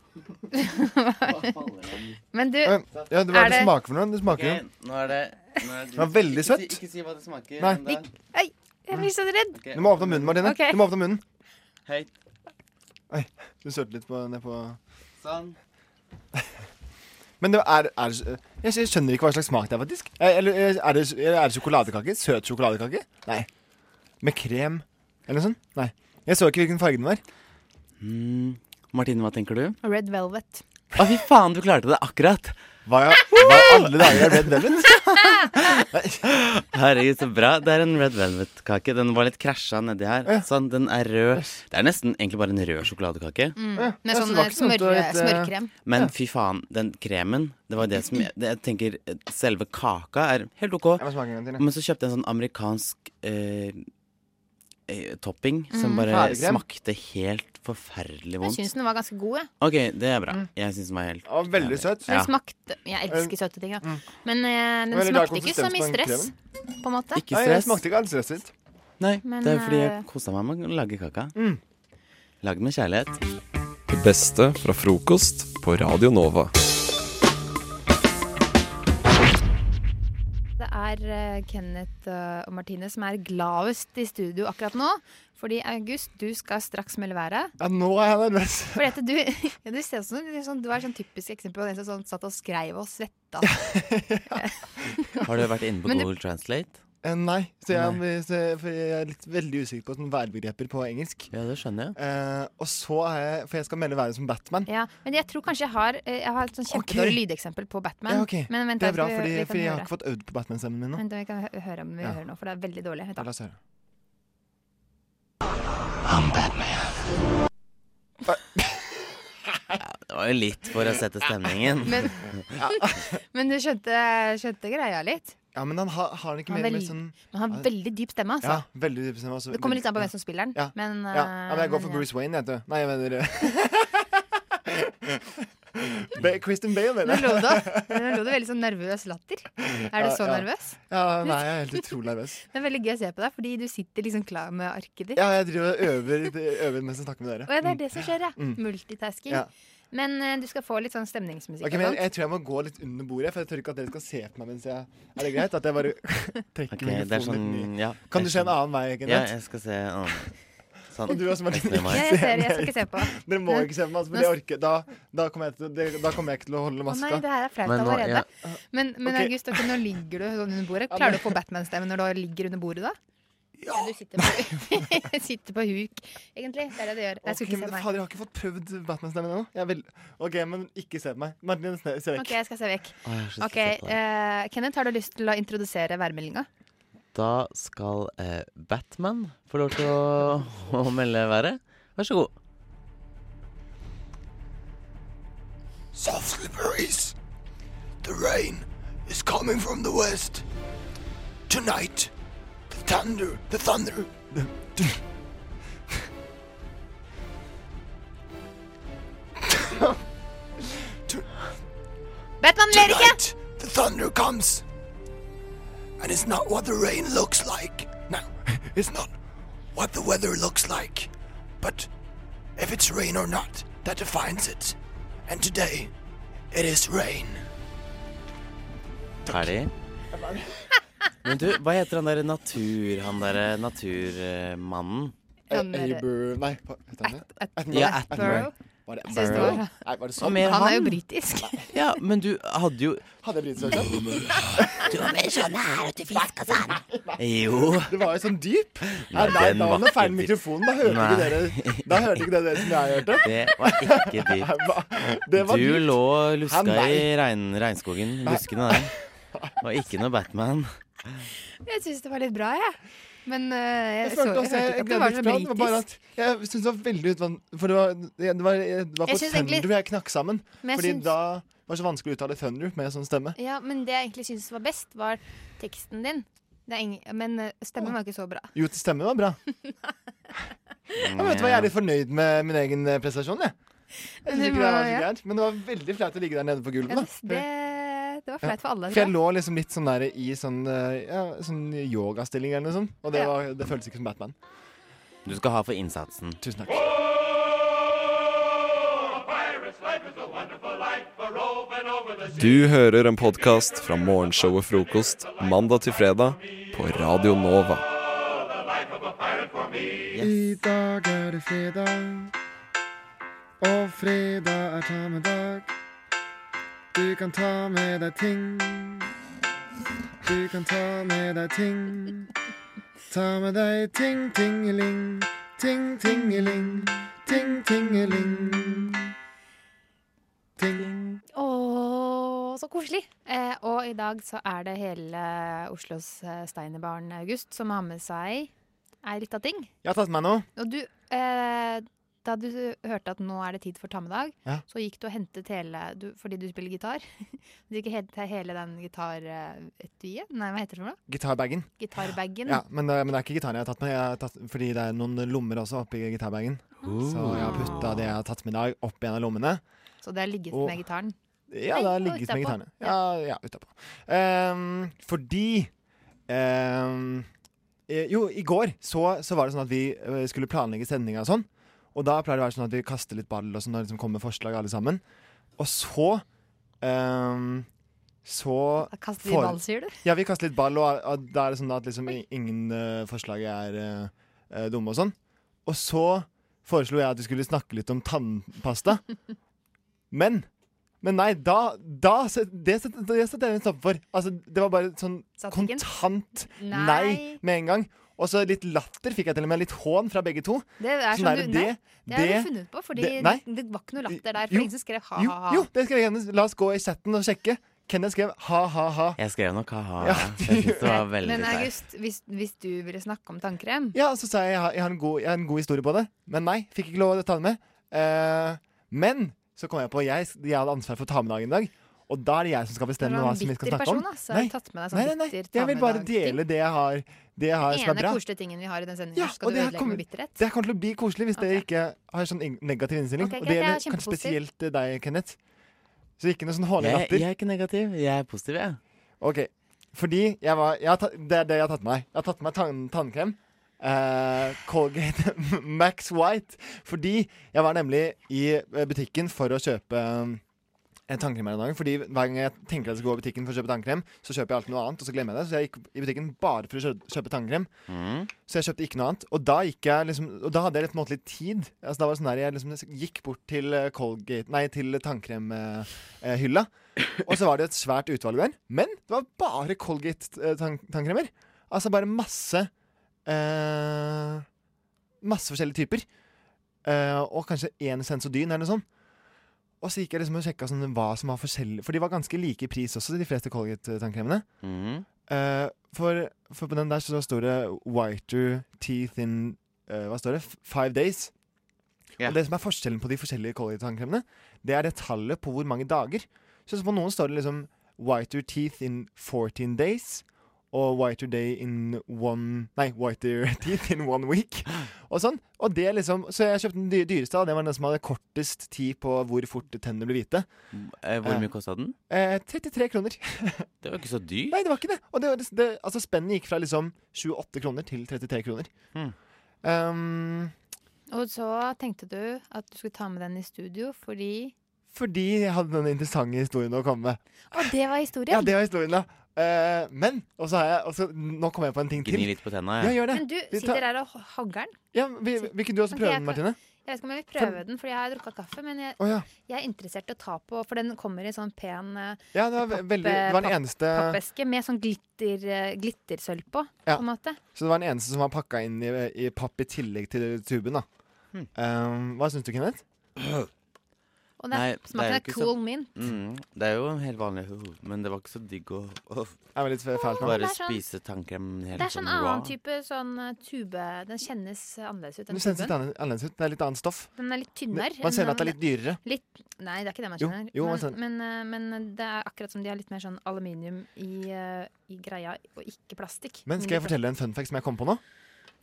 [SPEAKER 3] Men du,
[SPEAKER 14] Eh, Ja, det, hva er det, smaker for noe? Det smaker
[SPEAKER 12] Ok, nå er det nå er
[SPEAKER 14] Det var veldig
[SPEAKER 12] Ikke si-
[SPEAKER 14] søtt.
[SPEAKER 12] Ikke si hva det smaker.
[SPEAKER 14] Nei.
[SPEAKER 12] men det-
[SPEAKER 3] Ei, jeg blir så redd.
[SPEAKER 12] Ok.
[SPEAKER 14] jo Du må åpne munnen, Martine.
[SPEAKER 3] Ok.
[SPEAKER 14] Du må åpne munnen.
[SPEAKER 12] Hei.
[SPEAKER 14] Oi, du sølte litt på, ned på
[SPEAKER 12] Sånn.
[SPEAKER 14] Men det er, er jeg, jeg skjønner ikke hva slags smak det er, faktisk. Eh, Eller eh, er det, er det sjokoladekake? Søt sjokoladekake? Nei. Med krem? Eller noe sånt? Nei. Jeg så ikke hvilken farge den var.
[SPEAKER 12] Mm. Martine, hva tenker du?
[SPEAKER 3] Red Velvet.
[SPEAKER 12] Å, fy faen, du klarte det akkurat.
[SPEAKER 14] Hva alle dager er Red
[SPEAKER 12] Velvet? Herregud, så bra. Det er en Red Velvet-kake. Den var litt krasja nedi her. Sånn, den er rød. Det er nesten egentlig bare en rød sjokoladekake.
[SPEAKER 3] Mm.
[SPEAKER 14] Ja,
[SPEAKER 3] Med
[SPEAKER 14] jeg
[SPEAKER 3] sånn
[SPEAKER 14] synes det var ikke
[SPEAKER 3] smør,
[SPEAKER 14] dumt å ha litt, eh,
[SPEAKER 3] smørkrem.
[SPEAKER 12] Men fy faen, den kremen, det var det som jeg, det, jeg tenker eh, Selve kaka er helt OK.
[SPEAKER 14] Jeg må smake en gang til, jeg.
[SPEAKER 12] Men så kjøpte jeg en sånn amerikansk eh, eh, topping som
[SPEAKER 3] Mm.
[SPEAKER 12] bare
[SPEAKER 3] Farekrem.
[SPEAKER 12] smakte helt forferdelig
[SPEAKER 3] Jeg
[SPEAKER 12] vondt.
[SPEAKER 3] syns den Mm. var ganske god, jeg.
[SPEAKER 12] OK, det er bra. Jeg syns den var helt
[SPEAKER 14] Ja, veldig søt.
[SPEAKER 3] Den smakte Jeg elsker søte ting, da. Men eh, den
[SPEAKER 14] Veldig rar
[SPEAKER 3] smakte ikke så mye
[SPEAKER 14] konsistens på den
[SPEAKER 3] stress, på en måte.
[SPEAKER 12] Ikke
[SPEAKER 14] Nei, jeg
[SPEAKER 12] stress.
[SPEAKER 14] smakte ikke all stresset.
[SPEAKER 12] Nei,
[SPEAKER 3] Men,
[SPEAKER 12] det er fordi jeg
[SPEAKER 3] eh,
[SPEAKER 12] kosa meg med å lage kaka.
[SPEAKER 14] Mm.
[SPEAKER 12] Lagd med kjærlighet.
[SPEAKER 1] Det beste fra frokost på Radio Nova.
[SPEAKER 3] Det er eh, Kenneth eh, og Martine som er gladest i studio akkurat nå. Fordi August, du skal straks melde været.
[SPEAKER 14] Ja, nå er jeg nervøs.
[SPEAKER 3] Fordi at du, ja, du, ser ut som, en sånn, du er sånn typisk eksempel på en som sånn, satt og skrev og svetta.
[SPEAKER 12] Har du vært inne på
[SPEAKER 3] Men du-
[SPEAKER 12] Google Translate?
[SPEAKER 14] Eh, Nei, så jeg, Så, for jeg er litt veldig usikker på sånne værbegreper på engelsk.
[SPEAKER 12] Ja, det skjønner jeg.
[SPEAKER 14] Eh, og så har jeg For jeg skal melde været som Batman.
[SPEAKER 3] Ja, men jeg tror kanskje jeg har eh, Jeg har et sånn kjempedårlig
[SPEAKER 14] Ok.
[SPEAKER 3] lydeksempel på Batman.
[SPEAKER 14] Ja, ok.
[SPEAKER 3] Men vent,
[SPEAKER 14] det
[SPEAKER 3] da,
[SPEAKER 14] er bra,
[SPEAKER 3] vi-
[SPEAKER 14] fordi,
[SPEAKER 3] vi kan
[SPEAKER 14] fordi jeg har
[SPEAKER 3] høre.
[SPEAKER 14] ikke fått øvd på Batman-stemmen min nå.
[SPEAKER 3] Vent, da, vi kan hø- høre om vi
[SPEAKER 14] Ja.
[SPEAKER 3] hører nå, for det er veldig dårlig. Vent,
[SPEAKER 14] Ja,
[SPEAKER 3] da.
[SPEAKER 14] La oss høre.
[SPEAKER 12] Det var jo litt for å sette stemningen.
[SPEAKER 3] Men, men du skjønte, skjønte greia litt?
[SPEAKER 14] Ja, men han har, har han ikke
[SPEAKER 3] Han
[SPEAKER 14] mer
[SPEAKER 3] har
[SPEAKER 14] med
[SPEAKER 3] veld-
[SPEAKER 14] sånn
[SPEAKER 3] Men han har veldig dyp stemme,
[SPEAKER 14] Ja,
[SPEAKER 3] altså.
[SPEAKER 14] veldig dyp stemme. også.
[SPEAKER 3] Det kommer litt an på
[SPEAKER 14] Ja.
[SPEAKER 3] hvem som spiller den.
[SPEAKER 14] Ja.
[SPEAKER 3] Men,
[SPEAKER 14] ja. ja, men jeg
[SPEAKER 3] eh,
[SPEAKER 14] går for
[SPEAKER 3] men ja.
[SPEAKER 14] Bruce Wayne, jeg, vet du. Nei, jeg mener Ba Christian Bale,
[SPEAKER 3] Nå
[SPEAKER 14] mener
[SPEAKER 3] lo du, nå lo du veldig sånn nervøs latter. Er du
[SPEAKER 14] Ja,
[SPEAKER 3] så
[SPEAKER 14] ja.
[SPEAKER 3] nervøs?
[SPEAKER 14] Ja, nei, jeg er helt utrolig nervøs.
[SPEAKER 3] Det er veldig gøy å se på deg, fordi du sitter liksom klar med arket ditt.
[SPEAKER 14] Ja, jeg driver og øver, øver mens jeg snakker med dere.
[SPEAKER 3] Og ja, det er det som skjer, ja.
[SPEAKER 14] Mm.
[SPEAKER 3] Multitasking.
[SPEAKER 14] Ja.
[SPEAKER 3] Men eh, du skal få litt sånn stemningsmusikk.
[SPEAKER 14] Ok,
[SPEAKER 3] og
[SPEAKER 14] men jeg,
[SPEAKER 3] sånt.
[SPEAKER 14] jeg tror jeg må gå litt under bordet, for jeg tør ikke at dere skal se på meg mens jeg Er det greit at jeg bare trekker
[SPEAKER 12] Ok, det er
[SPEAKER 14] mikrofonen
[SPEAKER 12] sånn,
[SPEAKER 14] litt ned?
[SPEAKER 12] ja.
[SPEAKER 14] Kan du se
[SPEAKER 12] jeg
[SPEAKER 14] en
[SPEAKER 12] skjønner.
[SPEAKER 14] annen vei,
[SPEAKER 12] Ja,
[SPEAKER 14] Kenneth?
[SPEAKER 12] jeg skal se en annen. Sånn.
[SPEAKER 14] Og du også, Martin.
[SPEAKER 12] Ikke meg.
[SPEAKER 3] Jeg ser, jeg skal ikke se på.
[SPEAKER 14] Dere må ikke se på meg, altså, for det orker da, da, kommer jeg til, det- da kommer jeg ikke til å holde
[SPEAKER 3] Å
[SPEAKER 14] maska.
[SPEAKER 3] nei, det her er flaut
[SPEAKER 12] Men nå-
[SPEAKER 3] allerede.
[SPEAKER 12] ja.
[SPEAKER 3] Men, men
[SPEAKER 14] Ok.
[SPEAKER 3] August, ok, nå ligger du sånn under bordet.
[SPEAKER 14] Ja,
[SPEAKER 3] Klarer
[SPEAKER 14] men-
[SPEAKER 3] du å få Batman-stemme når du ligger under bordet, da? Ja! du sitter på, sitter på huk, egentlig. Det er det du gjør. Jeg
[SPEAKER 14] Ok,
[SPEAKER 3] skulle ikke se
[SPEAKER 14] men Fader,
[SPEAKER 3] meg.
[SPEAKER 14] jeg har ikke fått prøvd Batman-stemmen ennå. Jeg vil- Ok, men ikke se på meg. Martin, se se vekk.
[SPEAKER 3] OK, jeg skal se vekk.
[SPEAKER 12] Å, jeg har så lyst
[SPEAKER 3] Ok,
[SPEAKER 12] til å se på det.
[SPEAKER 3] eh, Kenneth, har du lyst til å introdusere værmeldinga?
[SPEAKER 12] Da skal eh, Batman få lov til å, å melde været. Vær så god.
[SPEAKER 17] Softly, breeze. The rain is coming from the west. Tonight, the thunder, the thunder. The,
[SPEAKER 3] Batman ler ikke!
[SPEAKER 17] the thunder comes. And it's not what the rain looks like. No, it's not what the weather looks like. But if it's rain or not, that defines it. And today, it is rain.
[SPEAKER 12] Ferdig. Men du, hva heter han derre natur... Han derre naturmannen?
[SPEAKER 14] Eh, Abel- Nei, hva heter han det?
[SPEAKER 12] Ja, Attenborough.
[SPEAKER 14] Var det
[SPEAKER 13] Jeg synes det var
[SPEAKER 14] Barrow?
[SPEAKER 13] bra.
[SPEAKER 14] Nei, var det
[SPEAKER 13] Og
[SPEAKER 14] sånn?
[SPEAKER 13] mer Han er jo han. britisk.
[SPEAKER 12] Ja, men du hadde jo
[SPEAKER 14] Hadde jeg britisk aksent?
[SPEAKER 18] Du var mer sånn her ute fisk og sånn.
[SPEAKER 12] Jo.
[SPEAKER 14] Det var jo sånn dyp. Nei,
[SPEAKER 12] Nei,
[SPEAKER 14] nei,
[SPEAKER 12] den
[SPEAKER 14] da
[SPEAKER 12] var
[SPEAKER 14] var det
[SPEAKER 12] ikke
[SPEAKER 14] feil
[SPEAKER 12] dyp.
[SPEAKER 14] mikrofon. Da hørte
[SPEAKER 12] Nei.
[SPEAKER 14] ikke dere Da hørte ikke dere det som jeg hørte.
[SPEAKER 12] Det var ikke dypt.
[SPEAKER 14] Nei, hva- Det var
[SPEAKER 12] du
[SPEAKER 14] dypt.
[SPEAKER 12] lå og luska
[SPEAKER 14] Hæ, nei.
[SPEAKER 12] i regn, regnskogen.
[SPEAKER 14] Nei.
[SPEAKER 12] Buskene der. Det var ikke noe Batman.
[SPEAKER 13] Jeg syns det var litt bra, jeg. Men eh, jeg,
[SPEAKER 14] Jeg
[SPEAKER 13] så,
[SPEAKER 14] følte
[SPEAKER 13] jeg
[SPEAKER 14] også
[SPEAKER 13] hørte
[SPEAKER 14] jeg
[SPEAKER 13] ikke at det
[SPEAKER 14] gledet fra det
[SPEAKER 13] var så
[SPEAKER 14] var bare
[SPEAKER 13] britisk.
[SPEAKER 14] at jeg syntes det var veldig utvann... For det var, det var, det var på
[SPEAKER 13] Jeg synes egentlig-
[SPEAKER 14] Thunder jeg knakk sammen.
[SPEAKER 13] Men jeg
[SPEAKER 14] Fordi
[SPEAKER 13] synes-
[SPEAKER 14] da var det så vanskelig å uttale Thunder med sånn stemme.
[SPEAKER 13] Ja, men det jeg egentlig syns var best, var teksten din. Det er ing- men eh, stemmen var ikke så bra.
[SPEAKER 14] Jo, til stemmen var bra. Ja, men vet du hva, Jeg er litt fornøyd med min egen eh, prestasjon. Jeg. Jeg synes
[SPEAKER 13] Det
[SPEAKER 14] ikke det var
[SPEAKER 13] var-
[SPEAKER 14] så
[SPEAKER 13] ja.
[SPEAKER 14] gærent, Men det var veldig flaut å ligge der nede på gulvet.
[SPEAKER 13] Ja,
[SPEAKER 14] da.
[SPEAKER 13] det, det var
[SPEAKER 14] Ja.
[SPEAKER 13] flaut for alle.
[SPEAKER 14] For jeg
[SPEAKER 13] tror jeg.
[SPEAKER 14] lå liksom litt sånn der i sånn, eh, ja, sånn yogastilling eller noe sånt. Og det,
[SPEAKER 13] Ja.
[SPEAKER 14] var, det føltes ikke som Batman.
[SPEAKER 12] Du skal ha for innsatsen.
[SPEAKER 14] Tusen takk.
[SPEAKER 1] Du hører en podkast fra morgenshowet Frokost mandag til fredag på Radio Nova.
[SPEAKER 19] I dag er det fredag, og fredag er ta med dag. Du kan ta med deg ting. Du kan ta med deg ting. Ta med deg ting, tingeling. Ting, tingeling. Ting, tingeling. Ting.
[SPEAKER 13] Åh, så koselig! Eh, og i dag så er det hele Oslos eh, Steinerbarn August som har med seg ei lita ting.
[SPEAKER 14] Jeg har tatt med meg noe.
[SPEAKER 13] Og du, eh, da du hørte at nå er det tid for tammedag,
[SPEAKER 14] Ja.
[SPEAKER 13] så gikk du og hentet hele du, Fordi du spiller gitar. Du gikk og hentet hele den gitaretuiet? Nei, hva heter det for noe?
[SPEAKER 14] Gitarbagen.
[SPEAKER 13] Gitarbagen.
[SPEAKER 14] Ja, men, det- men det er ikke gitaren jeg har tatt med, jeg har tatt, fordi det er noen lommer også oppi gitarbagen. Så jeg har putta det jeg har tatt med i dag, opp i en av lommene.
[SPEAKER 13] Så det har ligget
[SPEAKER 14] Og-
[SPEAKER 13] med gitaren.
[SPEAKER 14] Ja,
[SPEAKER 13] Nei,
[SPEAKER 14] det har
[SPEAKER 13] og
[SPEAKER 14] ligget med
[SPEAKER 13] utapå.
[SPEAKER 14] gitarene. Ja, ja utapå. Ehm, fordi ehm, eh, Jo, i går så, så var det sånn at vi eh, skulle planlegge sendinga og sånn. Og da pleier det å være sånn at vi kaster litt ball og sånn, og liksom kommer med forslag alle sammen. Og så ehm, så
[SPEAKER 13] kaster vi
[SPEAKER 14] fore-
[SPEAKER 13] ball, sier du?
[SPEAKER 14] Ja, vi kaster litt ball, og, og da er det sånn at liksom i- ingen eh, forslag er eh, eh, dumme og sånn. Og så foreslo jeg at vi skulle snakke litt om tannpasta. Men men nei, da, da set- Det set- det setter jeg en stopper for. Altså, det var bare sånn kontant nei.
[SPEAKER 13] Nei.
[SPEAKER 14] med en gang. Og så litt latter fikk jeg til og med. Litt hån fra begge to.
[SPEAKER 13] Det er
[SPEAKER 14] Sånn
[SPEAKER 13] som
[SPEAKER 14] der,
[SPEAKER 13] du, nei,
[SPEAKER 14] det-
[SPEAKER 13] det har
[SPEAKER 14] det-
[SPEAKER 13] du funnet på, fordi
[SPEAKER 14] det- nei.
[SPEAKER 13] det, var ikke noe latter der. For
[SPEAKER 14] Jo.
[SPEAKER 13] ingen som skrev
[SPEAKER 14] Jo,
[SPEAKER 13] ha-ha-ha.
[SPEAKER 14] jo, det skrev Kenneth. La oss gå i chatten og sjekke. Kenneth skrev ha-ha-ha.
[SPEAKER 12] Jeg skrev nok ha-ha.
[SPEAKER 14] Ja,
[SPEAKER 12] Jeg synes det var veldig
[SPEAKER 13] Men
[SPEAKER 12] teit.
[SPEAKER 13] August, hvis, hvis du ville snakke om tannkrem
[SPEAKER 14] Ja, så sa jeg jeg har, jeg har, en, god, jeg har en god historie på det. Men nei, fikk ikke lov å ta den med. Eh, men så kom jeg på jeg, jeg hadde ansvar for å ta med dagen i dag. Og da er det jeg som skal
[SPEAKER 13] Du
[SPEAKER 14] bestemme
[SPEAKER 13] var
[SPEAKER 14] hva
[SPEAKER 13] en
[SPEAKER 14] som vi skal
[SPEAKER 13] bitter
[SPEAKER 14] snakke om.
[SPEAKER 13] person, da, så har du tatt med deg sånn
[SPEAKER 14] nei, nei, nei.
[SPEAKER 13] bitter
[SPEAKER 14] Jeg vil bare
[SPEAKER 13] ta-med-dag-ting.
[SPEAKER 14] dele det jeg har, det jeg har
[SPEAKER 13] Den
[SPEAKER 14] som er
[SPEAKER 13] ene
[SPEAKER 14] bra.
[SPEAKER 13] koselige tingen vi har i den sendingen,
[SPEAKER 14] Ja,
[SPEAKER 13] her,
[SPEAKER 14] og
[SPEAKER 13] skal du
[SPEAKER 14] det her
[SPEAKER 13] ødelegge
[SPEAKER 14] kommer-
[SPEAKER 13] med bitterhet.
[SPEAKER 14] Det her kommer til å bli koselig hvis dere ikke har sånn ing- negativ innstilling. og
[SPEAKER 13] Ok,
[SPEAKER 14] det
[SPEAKER 13] greit, jeg er
[SPEAKER 14] gjelder kanskje
[SPEAKER 13] kjempepositiv.
[SPEAKER 14] spesielt eh, deg, Kenneth. Så ikke noe sånn hårlig
[SPEAKER 12] Jeg,
[SPEAKER 14] latter.
[SPEAKER 12] jeg er ikke negativ. Jeg er positiv, jeg.
[SPEAKER 14] Ok, fordi jeg var, jeg har ta, Det er det jeg har tatt med meg. Jeg har tatt med meg tann, tannkrem. eh, Colgate Max White. Fordi jeg var nemlig i eh, butikken for å kjøpe eh, en tannkrem her om dagen. Fordi hver gang jeg tenker at jeg skal gå i butikken for å kjøpe tannkrem, så kjøper jeg alltid noe annet, og så glemmer jeg det. Så jeg gikk i butikken bare for å kjø- kjøpe tannkrem. Så jeg kjøpte ikke noe annet. Og da, gikk jeg liksom, og da hadde jeg litt, på en måte litt tid. Altså, da var det sånn der jeg liksom gikk bort til, eh, Colgate, nei, til tannkremhylla. Og så var det et svært utvalg der. Men det var bare Colgate-tannkremer. altså bare masse eh, Masse forskjellige typer. Eh, og kanskje én Sensodyn eller noe sånt. Og så gikk jeg liksom og sjekka sånn, hva som var forskjellig. For de var ganske like i pris også, de fleste Colgate-tannkremene.
[SPEAKER 12] Mm-hmm.
[SPEAKER 14] Eh, for, for på den der så står det 'whiter teeth in' eh, Hva står det? F- Five days. Og det som er forskjellen på de forskjellige Colgate-tannkremene, det er det tallet på hvor mange dager. Så på noen står det liksom 'whiter teeth in 14 days'. Og 'whiter day in one Nei, 'whiter teeth in one week'. Og sånn. Og det liksom, så jeg kjøpte den dy- dyreste. da. Det var den som hadde kortest tid på hvor fort tennene ble hvite.
[SPEAKER 12] Eh, Hvor mye kosta den?
[SPEAKER 14] Eh, 33 kroner.
[SPEAKER 12] Det var ikke så dyr.
[SPEAKER 14] Nei, det var ikke det. Og det, var- det, altså, spennet gikk fra liksom 28 kroner til 33 kroner.
[SPEAKER 12] Hmm.
[SPEAKER 14] Um,
[SPEAKER 13] Og så tenkte du at du skulle ta med den i studio fordi
[SPEAKER 14] fordi jeg hadde den interessante historien å komme med.
[SPEAKER 13] Å, det var historien!
[SPEAKER 14] Ja, det var historien, da. Eh, men og så har jeg, og så- nå kommer jeg på en ting til.
[SPEAKER 12] Gni litt på tenna,
[SPEAKER 14] Ja, gjør det.
[SPEAKER 13] Men du
[SPEAKER 14] Vi tar-
[SPEAKER 13] sitter her og hagger den.
[SPEAKER 14] Ja, vi, vil ikke du også
[SPEAKER 13] Ok,
[SPEAKER 14] prøve
[SPEAKER 13] jeg
[SPEAKER 14] den,
[SPEAKER 13] prøver.
[SPEAKER 14] Martine?
[SPEAKER 3] Jeg vet ikke om jeg vil prøve den, fordi jeg har drukket kaffe. Men jeg,
[SPEAKER 14] Å, ja.
[SPEAKER 3] jeg er interessert i å ta på, for den kommer i sånn pen eh,
[SPEAKER 14] Ja, det var ve- veldig- det var den eneste-
[SPEAKER 3] pappeske med sånn glitter, eh, glittersølv på,
[SPEAKER 14] Ja.
[SPEAKER 3] på en måte.
[SPEAKER 14] Så det var den eneste som var pakka inn i, i papp i tillegg til tuben, da.
[SPEAKER 3] Hmm.
[SPEAKER 14] Um, hva syns du, Kenneth?
[SPEAKER 3] Og det,
[SPEAKER 12] Nei,
[SPEAKER 3] er- smaken er,
[SPEAKER 12] jo ikke så-
[SPEAKER 3] cool mint.
[SPEAKER 12] Mm, det er jo en helt vanlig uh, Men det var ikke så digg å å
[SPEAKER 3] nå.
[SPEAKER 12] Bare
[SPEAKER 3] Det er sånn-
[SPEAKER 12] spise tannkrem helt
[SPEAKER 3] Det er sånn annen
[SPEAKER 12] raw.
[SPEAKER 3] type sånn eh, tube Den kjennes eh, annerledes ut
[SPEAKER 14] Det
[SPEAKER 3] enn
[SPEAKER 14] kjennes litt
[SPEAKER 3] tuben.
[SPEAKER 14] annerledes- annerledes ut. Det er litt annet stoff.
[SPEAKER 3] Den er litt tynnere.
[SPEAKER 14] Man ser
[SPEAKER 3] enn
[SPEAKER 14] at det er litt dyrere.
[SPEAKER 3] Litt, nei, det er ikke det man
[SPEAKER 14] Jo,
[SPEAKER 3] kjenner.
[SPEAKER 14] jo, altså, man
[SPEAKER 3] men,
[SPEAKER 14] skjønner.
[SPEAKER 3] men, eh, men det er akkurat som de har litt mer sånn aluminium i, eh, i greia, og ikke plastikk.
[SPEAKER 14] Men skal jeg fortelle en fun fact som jeg kom på nå?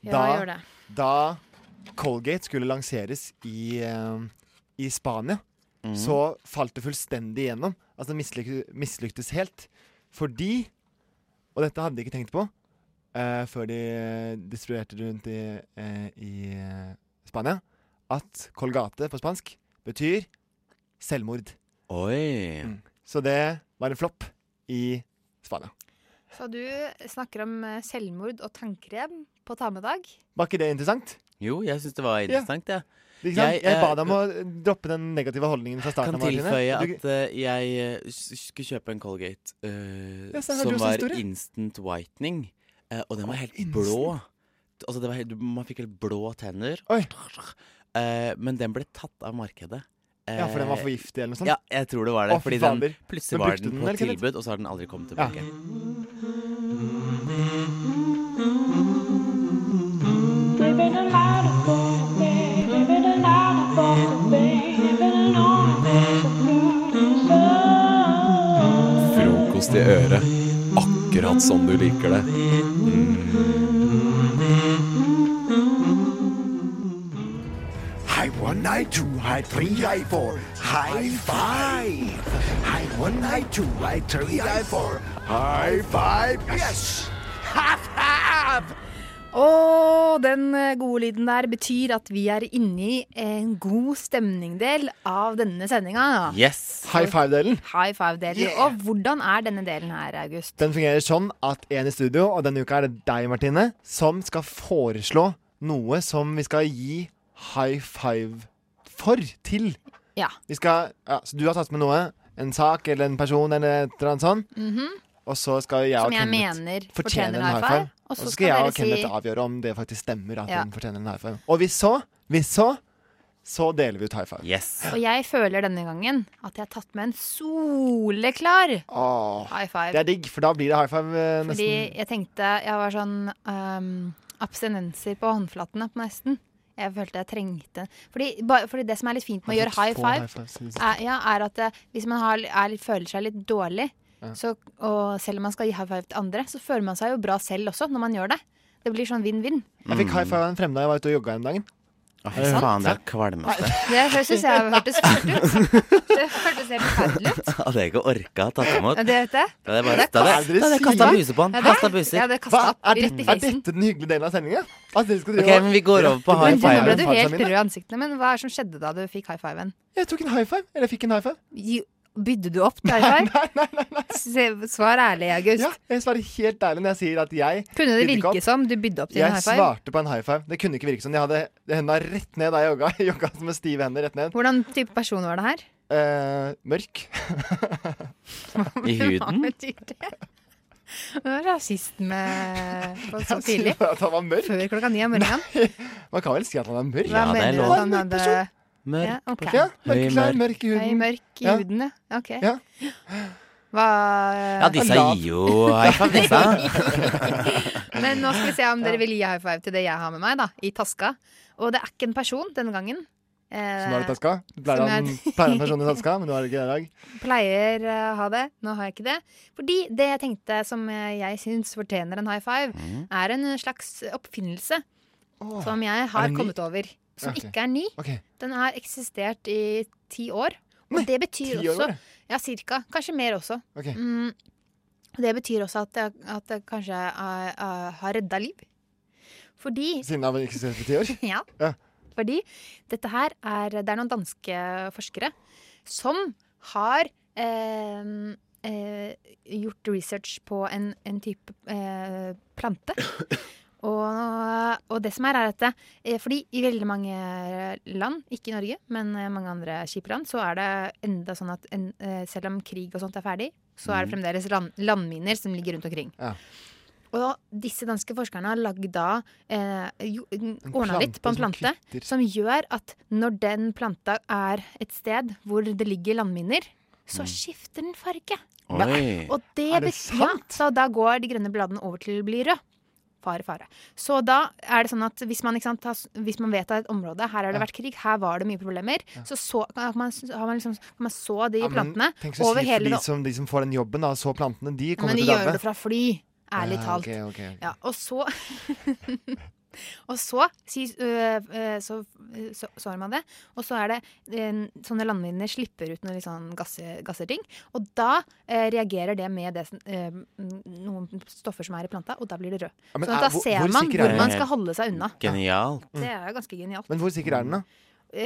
[SPEAKER 3] Ja, gjør det.
[SPEAKER 14] da Colgate skulle lanseres i, eh, i Spania, så falt det fullstendig igjennom. Altså det mislyk- mislyktes helt. Fordi Og dette hadde de ikke tenkt på eh, før de eh, distribuerte det rundt i, eh, i eh, Spania, at Colgate på spansk betyr selvmord.
[SPEAKER 12] Oi.
[SPEAKER 14] Mm. Så det var en flopp i Spania.
[SPEAKER 3] Så du snakker om eh, selvmord og tannkrem på tammedag.
[SPEAKER 14] Var ikke det interessant?
[SPEAKER 12] Jo, jeg syns det var interessant,
[SPEAKER 14] Ikke
[SPEAKER 12] jeg.
[SPEAKER 14] sant? Jeg, ba
[SPEAKER 12] eh,
[SPEAKER 14] deg om å droppe den negative holdningen fra starten. av,
[SPEAKER 12] kan
[SPEAKER 14] Martine.
[SPEAKER 12] tilføye
[SPEAKER 14] Du-
[SPEAKER 12] at eh, jeg eh, s- skulle kjøpe en Colgate eh,
[SPEAKER 14] Ja, så har du også
[SPEAKER 12] som var
[SPEAKER 14] historie.
[SPEAKER 12] instant whitening, eh, og den var helt
[SPEAKER 14] instant.
[SPEAKER 12] blå. Altså, det var helt, man fikk helt blå tenner. Eh, men den ble tatt av markedet.
[SPEAKER 14] Ja, for den var
[SPEAKER 12] Eh,
[SPEAKER 14] for giftig eller noe sånt?
[SPEAKER 12] Ja, jeg tror det var det.
[SPEAKER 14] Å, fy
[SPEAKER 12] fordi den,
[SPEAKER 14] fader.
[SPEAKER 12] plutselig
[SPEAKER 14] Men
[SPEAKER 12] var
[SPEAKER 14] brukte
[SPEAKER 12] den
[SPEAKER 14] den,
[SPEAKER 12] på
[SPEAKER 14] eller, Kenneth?
[SPEAKER 12] tilbud, og så har den aldri kommet
[SPEAKER 14] Ja.
[SPEAKER 12] tilbake.
[SPEAKER 13] Frokost i øret, akkurat
[SPEAKER 1] sånn
[SPEAKER 13] som du liker det.
[SPEAKER 20] Hei one, hei to, hei tre, hei four. High five! Hei one, hei to, hei tre, hei four. High five! Yes! Half, half!
[SPEAKER 3] Og den eh, gode lyden der betyr at vi er inne i en god stemningdel av denne sendinga.
[SPEAKER 12] Yes!
[SPEAKER 14] High five-delen.
[SPEAKER 3] High five-delen.
[SPEAKER 14] Yeah.
[SPEAKER 3] Og hvordan er denne delen her, August?
[SPEAKER 14] Den fungerer sånn at en i studio, og denne uka er det deg, Martine, som skal foreslå noe som vi skal gi high five for til.
[SPEAKER 3] Ja.
[SPEAKER 14] Vi skal, ja, så du har tatt med noe, en sak eller en person eller et eller annet sånt,
[SPEAKER 3] Mhm.
[SPEAKER 14] og så skal jeg
[SPEAKER 3] Som
[SPEAKER 14] og
[SPEAKER 3] jeg
[SPEAKER 14] Kenneth
[SPEAKER 3] mener
[SPEAKER 14] fortjene
[SPEAKER 3] fortjener
[SPEAKER 14] en high five. Og så skal jeg og
[SPEAKER 3] dere si-
[SPEAKER 14] Kenneth avgjøre om det faktisk stemmer at
[SPEAKER 3] Ja.
[SPEAKER 14] den fortjener en high five. Og hvis så, hvis så, så deler vi ut high five.
[SPEAKER 12] Yes.
[SPEAKER 3] Og jeg føler denne gangen at jeg har tatt med en soleklar
[SPEAKER 14] Åh,
[SPEAKER 3] high five.
[SPEAKER 14] det er digg, for da blir det high five eh, nesten.
[SPEAKER 3] Fordi jeg tenkte Jeg var sånn ehm, abstinenser på håndflatene på nesten. Jeg følte jeg trengte Fordi, ba, fordi det som er litt fint med å
[SPEAKER 14] Har
[SPEAKER 3] gjøre
[SPEAKER 14] fått
[SPEAKER 3] high
[SPEAKER 14] Altså, få
[SPEAKER 3] five,
[SPEAKER 14] high fives, liksom.
[SPEAKER 3] er, ja, er at eh, hvis man har, er, litt- føler seg litt dårlig,
[SPEAKER 14] Ja.
[SPEAKER 3] så, og selv om man skal gi high five til andre, så føler man seg jo bra selv også når man gjør det. Det blir sånn vinn-vinn.
[SPEAKER 14] Jeg fikk high five av en fremmed da jeg var ute og jogga en dagen.
[SPEAKER 12] Å, fy faen, det er altså. kvalmete.
[SPEAKER 3] Det syns jeg hørtes fælt ut. Det hørtes helt forferdelig ut.
[SPEAKER 12] Hadde jeg ikke orka å ta imot.
[SPEAKER 3] Ja, det vet jeg.
[SPEAKER 12] Da hadde jeg
[SPEAKER 3] Det
[SPEAKER 12] bare
[SPEAKER 3] er
[SPEAKER 12] da
[SPEAKER 3] kvalmt.
[SPEAKER 12] hadde jeg- da hadde jeg kasta buser på han.
[SPEAKER 3] Ja, det-
[SPEAKER 12] Kasta buser.
[SPEAKER 3] ja, det kastet opp
[SPEAKER 14] Er,
[SPEAKER 3] rett i
[SPEAKER 14] det- er
[SPEAKER 3] fisen.
[SPEAKER 14] dette den hyggelige delen av sendinga? At dere skal drive
[SPEAKER 12] Ok,
[SPEAKER 14] og-
[SPEAKER 12] men vi går over på
[SPEAKER 14] Men
[SPEAKER 12] high
[SPEAKER 14] du-
[SPEAKER 3] Nå
[SPEAKER 12] five.
[SPEAKER 3] ble du
[SPEAKER 14] High five,
[SPEAKER 3] helt
[SPEAKER 14] Samir.
[SPEAKER 3] rød i ansiktene, men hva er det som skjedde da du fikk high fiven?
[SPEAKER 14] Jeg tok en high five. Eller jeg fikk en high five.
[SPEAKER 3] Bydde du opp til high five? Nei, nei, nei, Svar ærlig, August.
[SPEAKER 14] Ja, jeg svarer helt ærlig når jeg sier at jeg
[SPEAKER 3] Kunne det
[SPEAKER 14] bydde ikke
[SPEAKER 3] virke
[SPEAKER 14] opp.
[SPEAKER 3] som du bydde opp til en
[SPEAKER 14] Jeg
[SPEAKER 3] high five?
[SPEAKER 14] svarte på en high five. Det kunne ikke virke sånn. Jeg hadde henda rett ned da jeg jogga. Jeg jogga med stive hender rett ned.
[SPEAKER 3] Hvordan type person var det her?
[SPEAKER 14] Eh, mørk. I huden?
[SPEAKER 3] Du var rasist med på så tidlig.
[SPEAKER 14] Jeg sier At han var mørk.
[SPEAKER 3] Før klokka ni om morgenen.
[SPEAKER 14] Man kan vel si at han er mørk?
[SPEAKER 3] Hva mener du at han hadde
[SPEAKER 12] Mørk
[SPEAKER 3] ja, ok.
[SPEAKER 14] person. Ja, mørkeklær, mørk i huden.
[SPEAKER 3] Høy, mørk i
[SPEAKER 14] Ja.
[SPEAKER 3] huden, ja. Ok.
[SPEAKER 14] Ja.
[SPEAKER 3] Hva
[SPEAKER 12] Ja, disse gir jo high five, disse.
[SPEAKER 3] Men nå skal vi se om dere vil gi high five til det jeg har med meg, da. I taska. Og det er ikke en person denne gangen. Eh,
[SPEAKER 14] Som har det i taska? Du Pleier
[SPEAKER 3] som
[SPEAKER 14] han
[SPEAKER 3] jeg-
[SPEAKER 14] pleier han personlig i taska, men nå er det ikke det i dag.
[SPEAKER 3] Pleier eh, ha det. Nå har jeg ikke det. Fordi det jeg tenkte som eh, jeg syns fortjener en high five,
[SPEAKER 14] Mhm.
[SPEAKER 3] er en slags oppfinnelse
[SPEAKER 14] Åh.
[SPEAKER 3] som jeg
[SPEAKER 14] Er
[SPEAKER 3] har
[SPEAKER 14] den ny?
[SPEAKER 3] kommet over. Som
[SPEAKER 14] Ok.
[SPEAKER 3] ikke er ny.
[SPEAKER 14] Ok.
[SPEAKER 3] Den har eksistert i ti år. Og det betyr
[SPEAKER 14] ti år
[SPEAKER 3] også
[SPEAKER 14] bare?
[SPEAKER 3] Ja, cirka. Kanskje mer også.
[SPEAKER 14] Ok.
[SPEAKER 3] Mm, det betyr også at jeg, at jeg kanskje eh, eh, har redda liv. Fordi
[SPEAKER 14] Siden han ikke eksisterte på ti år.
[SPEAKER 3] ja.
[SPEAKER 14] Ja.
[SPEAKER 3] Fordi dette her er Det er noen danske forskere som har eh, eh, gjort research på en, en type eh, plante. Og, og det som er, er at eh, fordi i veldig mange land, ikke i Norge, men eh, mange andre kjipe land, så er det enda sånn at en, eh, selv om krig og sånt er ferdig, så er det
[SPEAKER 13] Mm.
[SPEAKER 3] fremdeles land, landminer som ligger rundt omkring. Og disse danske forskerne har lagd da eh, jo- ordna
[SPEAKER 13] plante
[SPEAKER 3] litt på en
[SPEAKER 13] som
[SPEAKER 3] plante som gjør at når den planta er et sted hvor det ligger landminer, så
[SPEAKER 14] Mm.
[SPEAKER 3] skifter den farge.
[SPEAKER 13] Oi.
[SPEAKER 3] Nei. Og det
[SPEAKER 13] Er det
[SPEAKER 3] bet- Ja, så da går de grønne bladene over til å bli rød. Fare, fare. Så da er det sånn at hvis man, ikke sant, har, s- hvis man vet at et område her har det
[SPEAKER 13] Ja.
[SPEAKER 3] vært krig, her var det mye problemer, så, så kan man, har man, liksom, kan man så de
[SPEAKER 14] Ja, men
[SPEAKER 3] plantene
[SPEAKER 14] Tenk så
[SPEAKER 3] over
[SPEAKER 14] kjipt for
[SPEAKER 3] hele
[SPEAKER 14] de
[SPEAKER 3] det-
[SPEAKER 14] som, de som får den jobben, da. Så plantene, de kommer
[SPEAKER 3] Men de
[SPEAKER 14] til å
[SPEAKER 3] gjør det fra fly, ærlig
[SPEAKER 14] Ja,
[SPEAKER 3] talt.
[SPEAKER 14] ok, ok, ok.
[SPEAKER 3] Ja, og så Og så, sies- øh, øh, så, øh, så, så har man det. Og så er det øh, sånne landminer slipper ut noen litt sånn gasse, gasseting. Og da øh, reagerer det med det, som- øh, noen stoffer som er i planta, og da blir det rød.
[SPEAKER 14] Ja, men
[SPEAKER 3] sånn
[SPEAKER 14] er-
[SPEAKER 3] at da
[SPEAKER 14] hvor-
[SPEAKER 3] ser
[SPEAKER 14] hvor
[SPEAKER 3] man
[SPEAKER 14] sikker er
[SPEAKER 3] hvor
[SPEAKER 14] den?
[SPEAKER 3] man skal holde seg unna.
[SPEAKER 12] Genialt.
[SPEAKER 3] Det er jo ganske genialt.
[SPEAKER 14] Men hvor sikker er den, da?
[SPEAKER 3] Eh,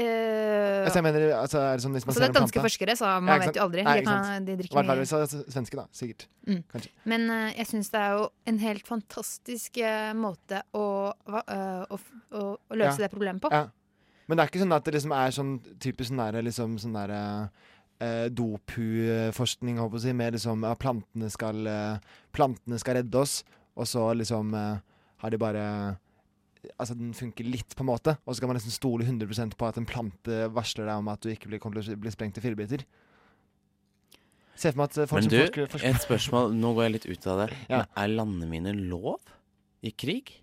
[SPEAKER 14] Altså, jeg mener, altså, er det sånn hvis man
[SPEAKER 3] Øh, Altså,
[SPEAKER 14] ser
[SPEAKER 3] det er
[SPEAKER 14] en
[SPEAKER 3] danske
[SPEAKER 14] plante-
[SPEAKER 3] forskere, så man
[SPEAKER 14] Ja, ikke
[SPEAKER 3] vet
[SPEAKER 14] sant?
[SPEAKER 3] jo aldri.
[SPEAKER 14] Nei,
[SPEAKER 3] De
[SPEAKER 14] ikke
[SPEAKER 3] kan-
[SPEAKER 14] sant.
[SPEAKER 3] de drikker
[SPEAKER 14] Hvert fall
[SPEAKER 3] mye-
[SPEAKER 14] hvis det er svenske, da. Sikkert.
[SPEAKER 3] Mm.
[SPEAKER 14] Kanskje.
[SPEAKER 3] Men eh, jeg syns det er jo en helt fantastisk eh, måte å, hva- eh, å, f- å, å løse
[SPEAKER 14] Ja.
[SPEAKER 3] det problemet på.
[SPEAKER 14] Ja. Men det er ikke sånn at det liksom er sånn typisk sånn der, liksom, sånn der eh, dopu-forskning, håper jeg å si, med liksom at plantene skal, eh, plantene skal redde oss, og så liksom eh, har de bare Altså den funker litt, på en måte, og så kan man liksom stole 100 på at en plante varsler deg om at du ikke blir, kommer til å bli sprengt i fillebiter. Se for meg at eh, folk
[SPEAKER 12] Men
[SPEAKER 14] som
[SPEAKER 12] du,
[SPEAKER 14] forsker, forsker
[SPEAKER 12] et spørsmål. Nå går jeg litt ut av det.
[SPEAKER 14] Ja.
[SPEAKER 12] Men er landeminer lov i krig?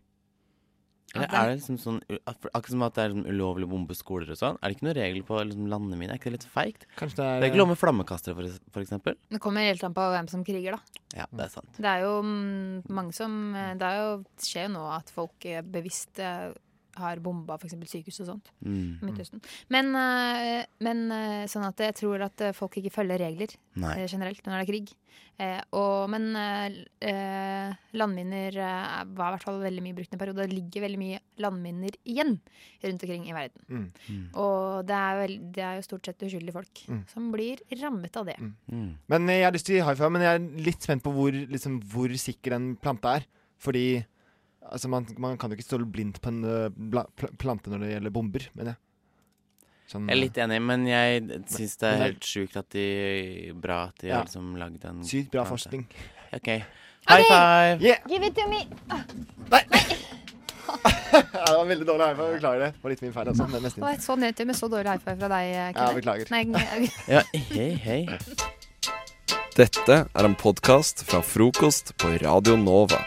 [SPEAKER 12] Eller
[SPEAKER 14] Ja,
[SPEAKER 12] er det liksom sånn u- ak- Akkurat som at det er liksom ulovlig å bombe skoler og sånn. Er det ikke noen regler på liksom landemine? Er ikke det litt feigt?
[SPEAKER 14] Kanskje
[SPEAKER 12] Det
[SPEAKER 14] det
[SPEAKER 12] er
[SPEAKER 14] er
[SPEAKER 12] ikke lov med flammekastere, for, es- for eksempel?
[SPEAKER 3] Det kommer helt an på hvem som kriger, da.
[SPEAKER 12] Ja, det er sant.
[SPEAKER 3] Det er jo mm, mange som eh, Det er jo, det skjer jo nå at folk eh, bevisst eh, har bomba f.eks. sykehus og sånt.
[SPEAKER 12] Mm.
[SPEAKER 3] i Midtøsten. Men, eh, men eh, sånn at jeg tror at eh, folk ikke følger regler
[SPEAKER 12] Nei.
[SPEAKER 3] eh, generelt når det er krig. Eh, og, men eh, eh, landminer eh, var i hvert fall veldig mye brukt en periode. og Det ligger veldig mye landminer igjen rundt omkring i verden.
[SPEAKER 14] Mm. Mm.
[SPEAKER 3] Og det er, vel, det er jo stort sett uskyldige folk
[SPEAKER 14] Mm.
[SPEAKER 3] som blir rammet av det.
[SPEAKER 12] Mm.
[SPEAKER 14] Men eh, jeg har lyst til å gi high five, men jeg er litt spent på hvor, liksom, hvor sikker den planta er. Fordi altså, man, man kan jo ikke stole blindt på en eh, bla, pl plante når det gjelder bomber, mener jeg. Sånn,
[SPEAKER 12] Jeg er litt enig, men jeg syns det er
[SPEAKER 14] Men-
[SPEAKER 12] helt sjukt at de Bra at de
[SPEAKER 14] Ja.
[SPEAKER 12] har liksom lagd en
[SPEAKER 14] Sykt bra
[SPEAKER 12] plante.
[SPEAKER 14] forskning.
[SPEAKER 12] OK. High five!
[SPEAKER 3] Give it to me!
[SPEAKER 14] ja, det var veldig dårlig high five, beklager det. Det var litt min feil, altså. Men
[SPEAKER 3] Det
[SPEAKER 14] nesten.
[SPEAKER 3] var et så nedtur med så dårlig high five fra deg, eh,
[SPEAKER 14] Ja,
[SPEAKER 3] Kenneth.
[SPEAKER 14] beklager.
[SPEAKER 3] Nei,
[SPEAKER 12] Ja, hei, hei.
[SPEAKER 1] Dette er en podkast fra frokost på Radio Nova.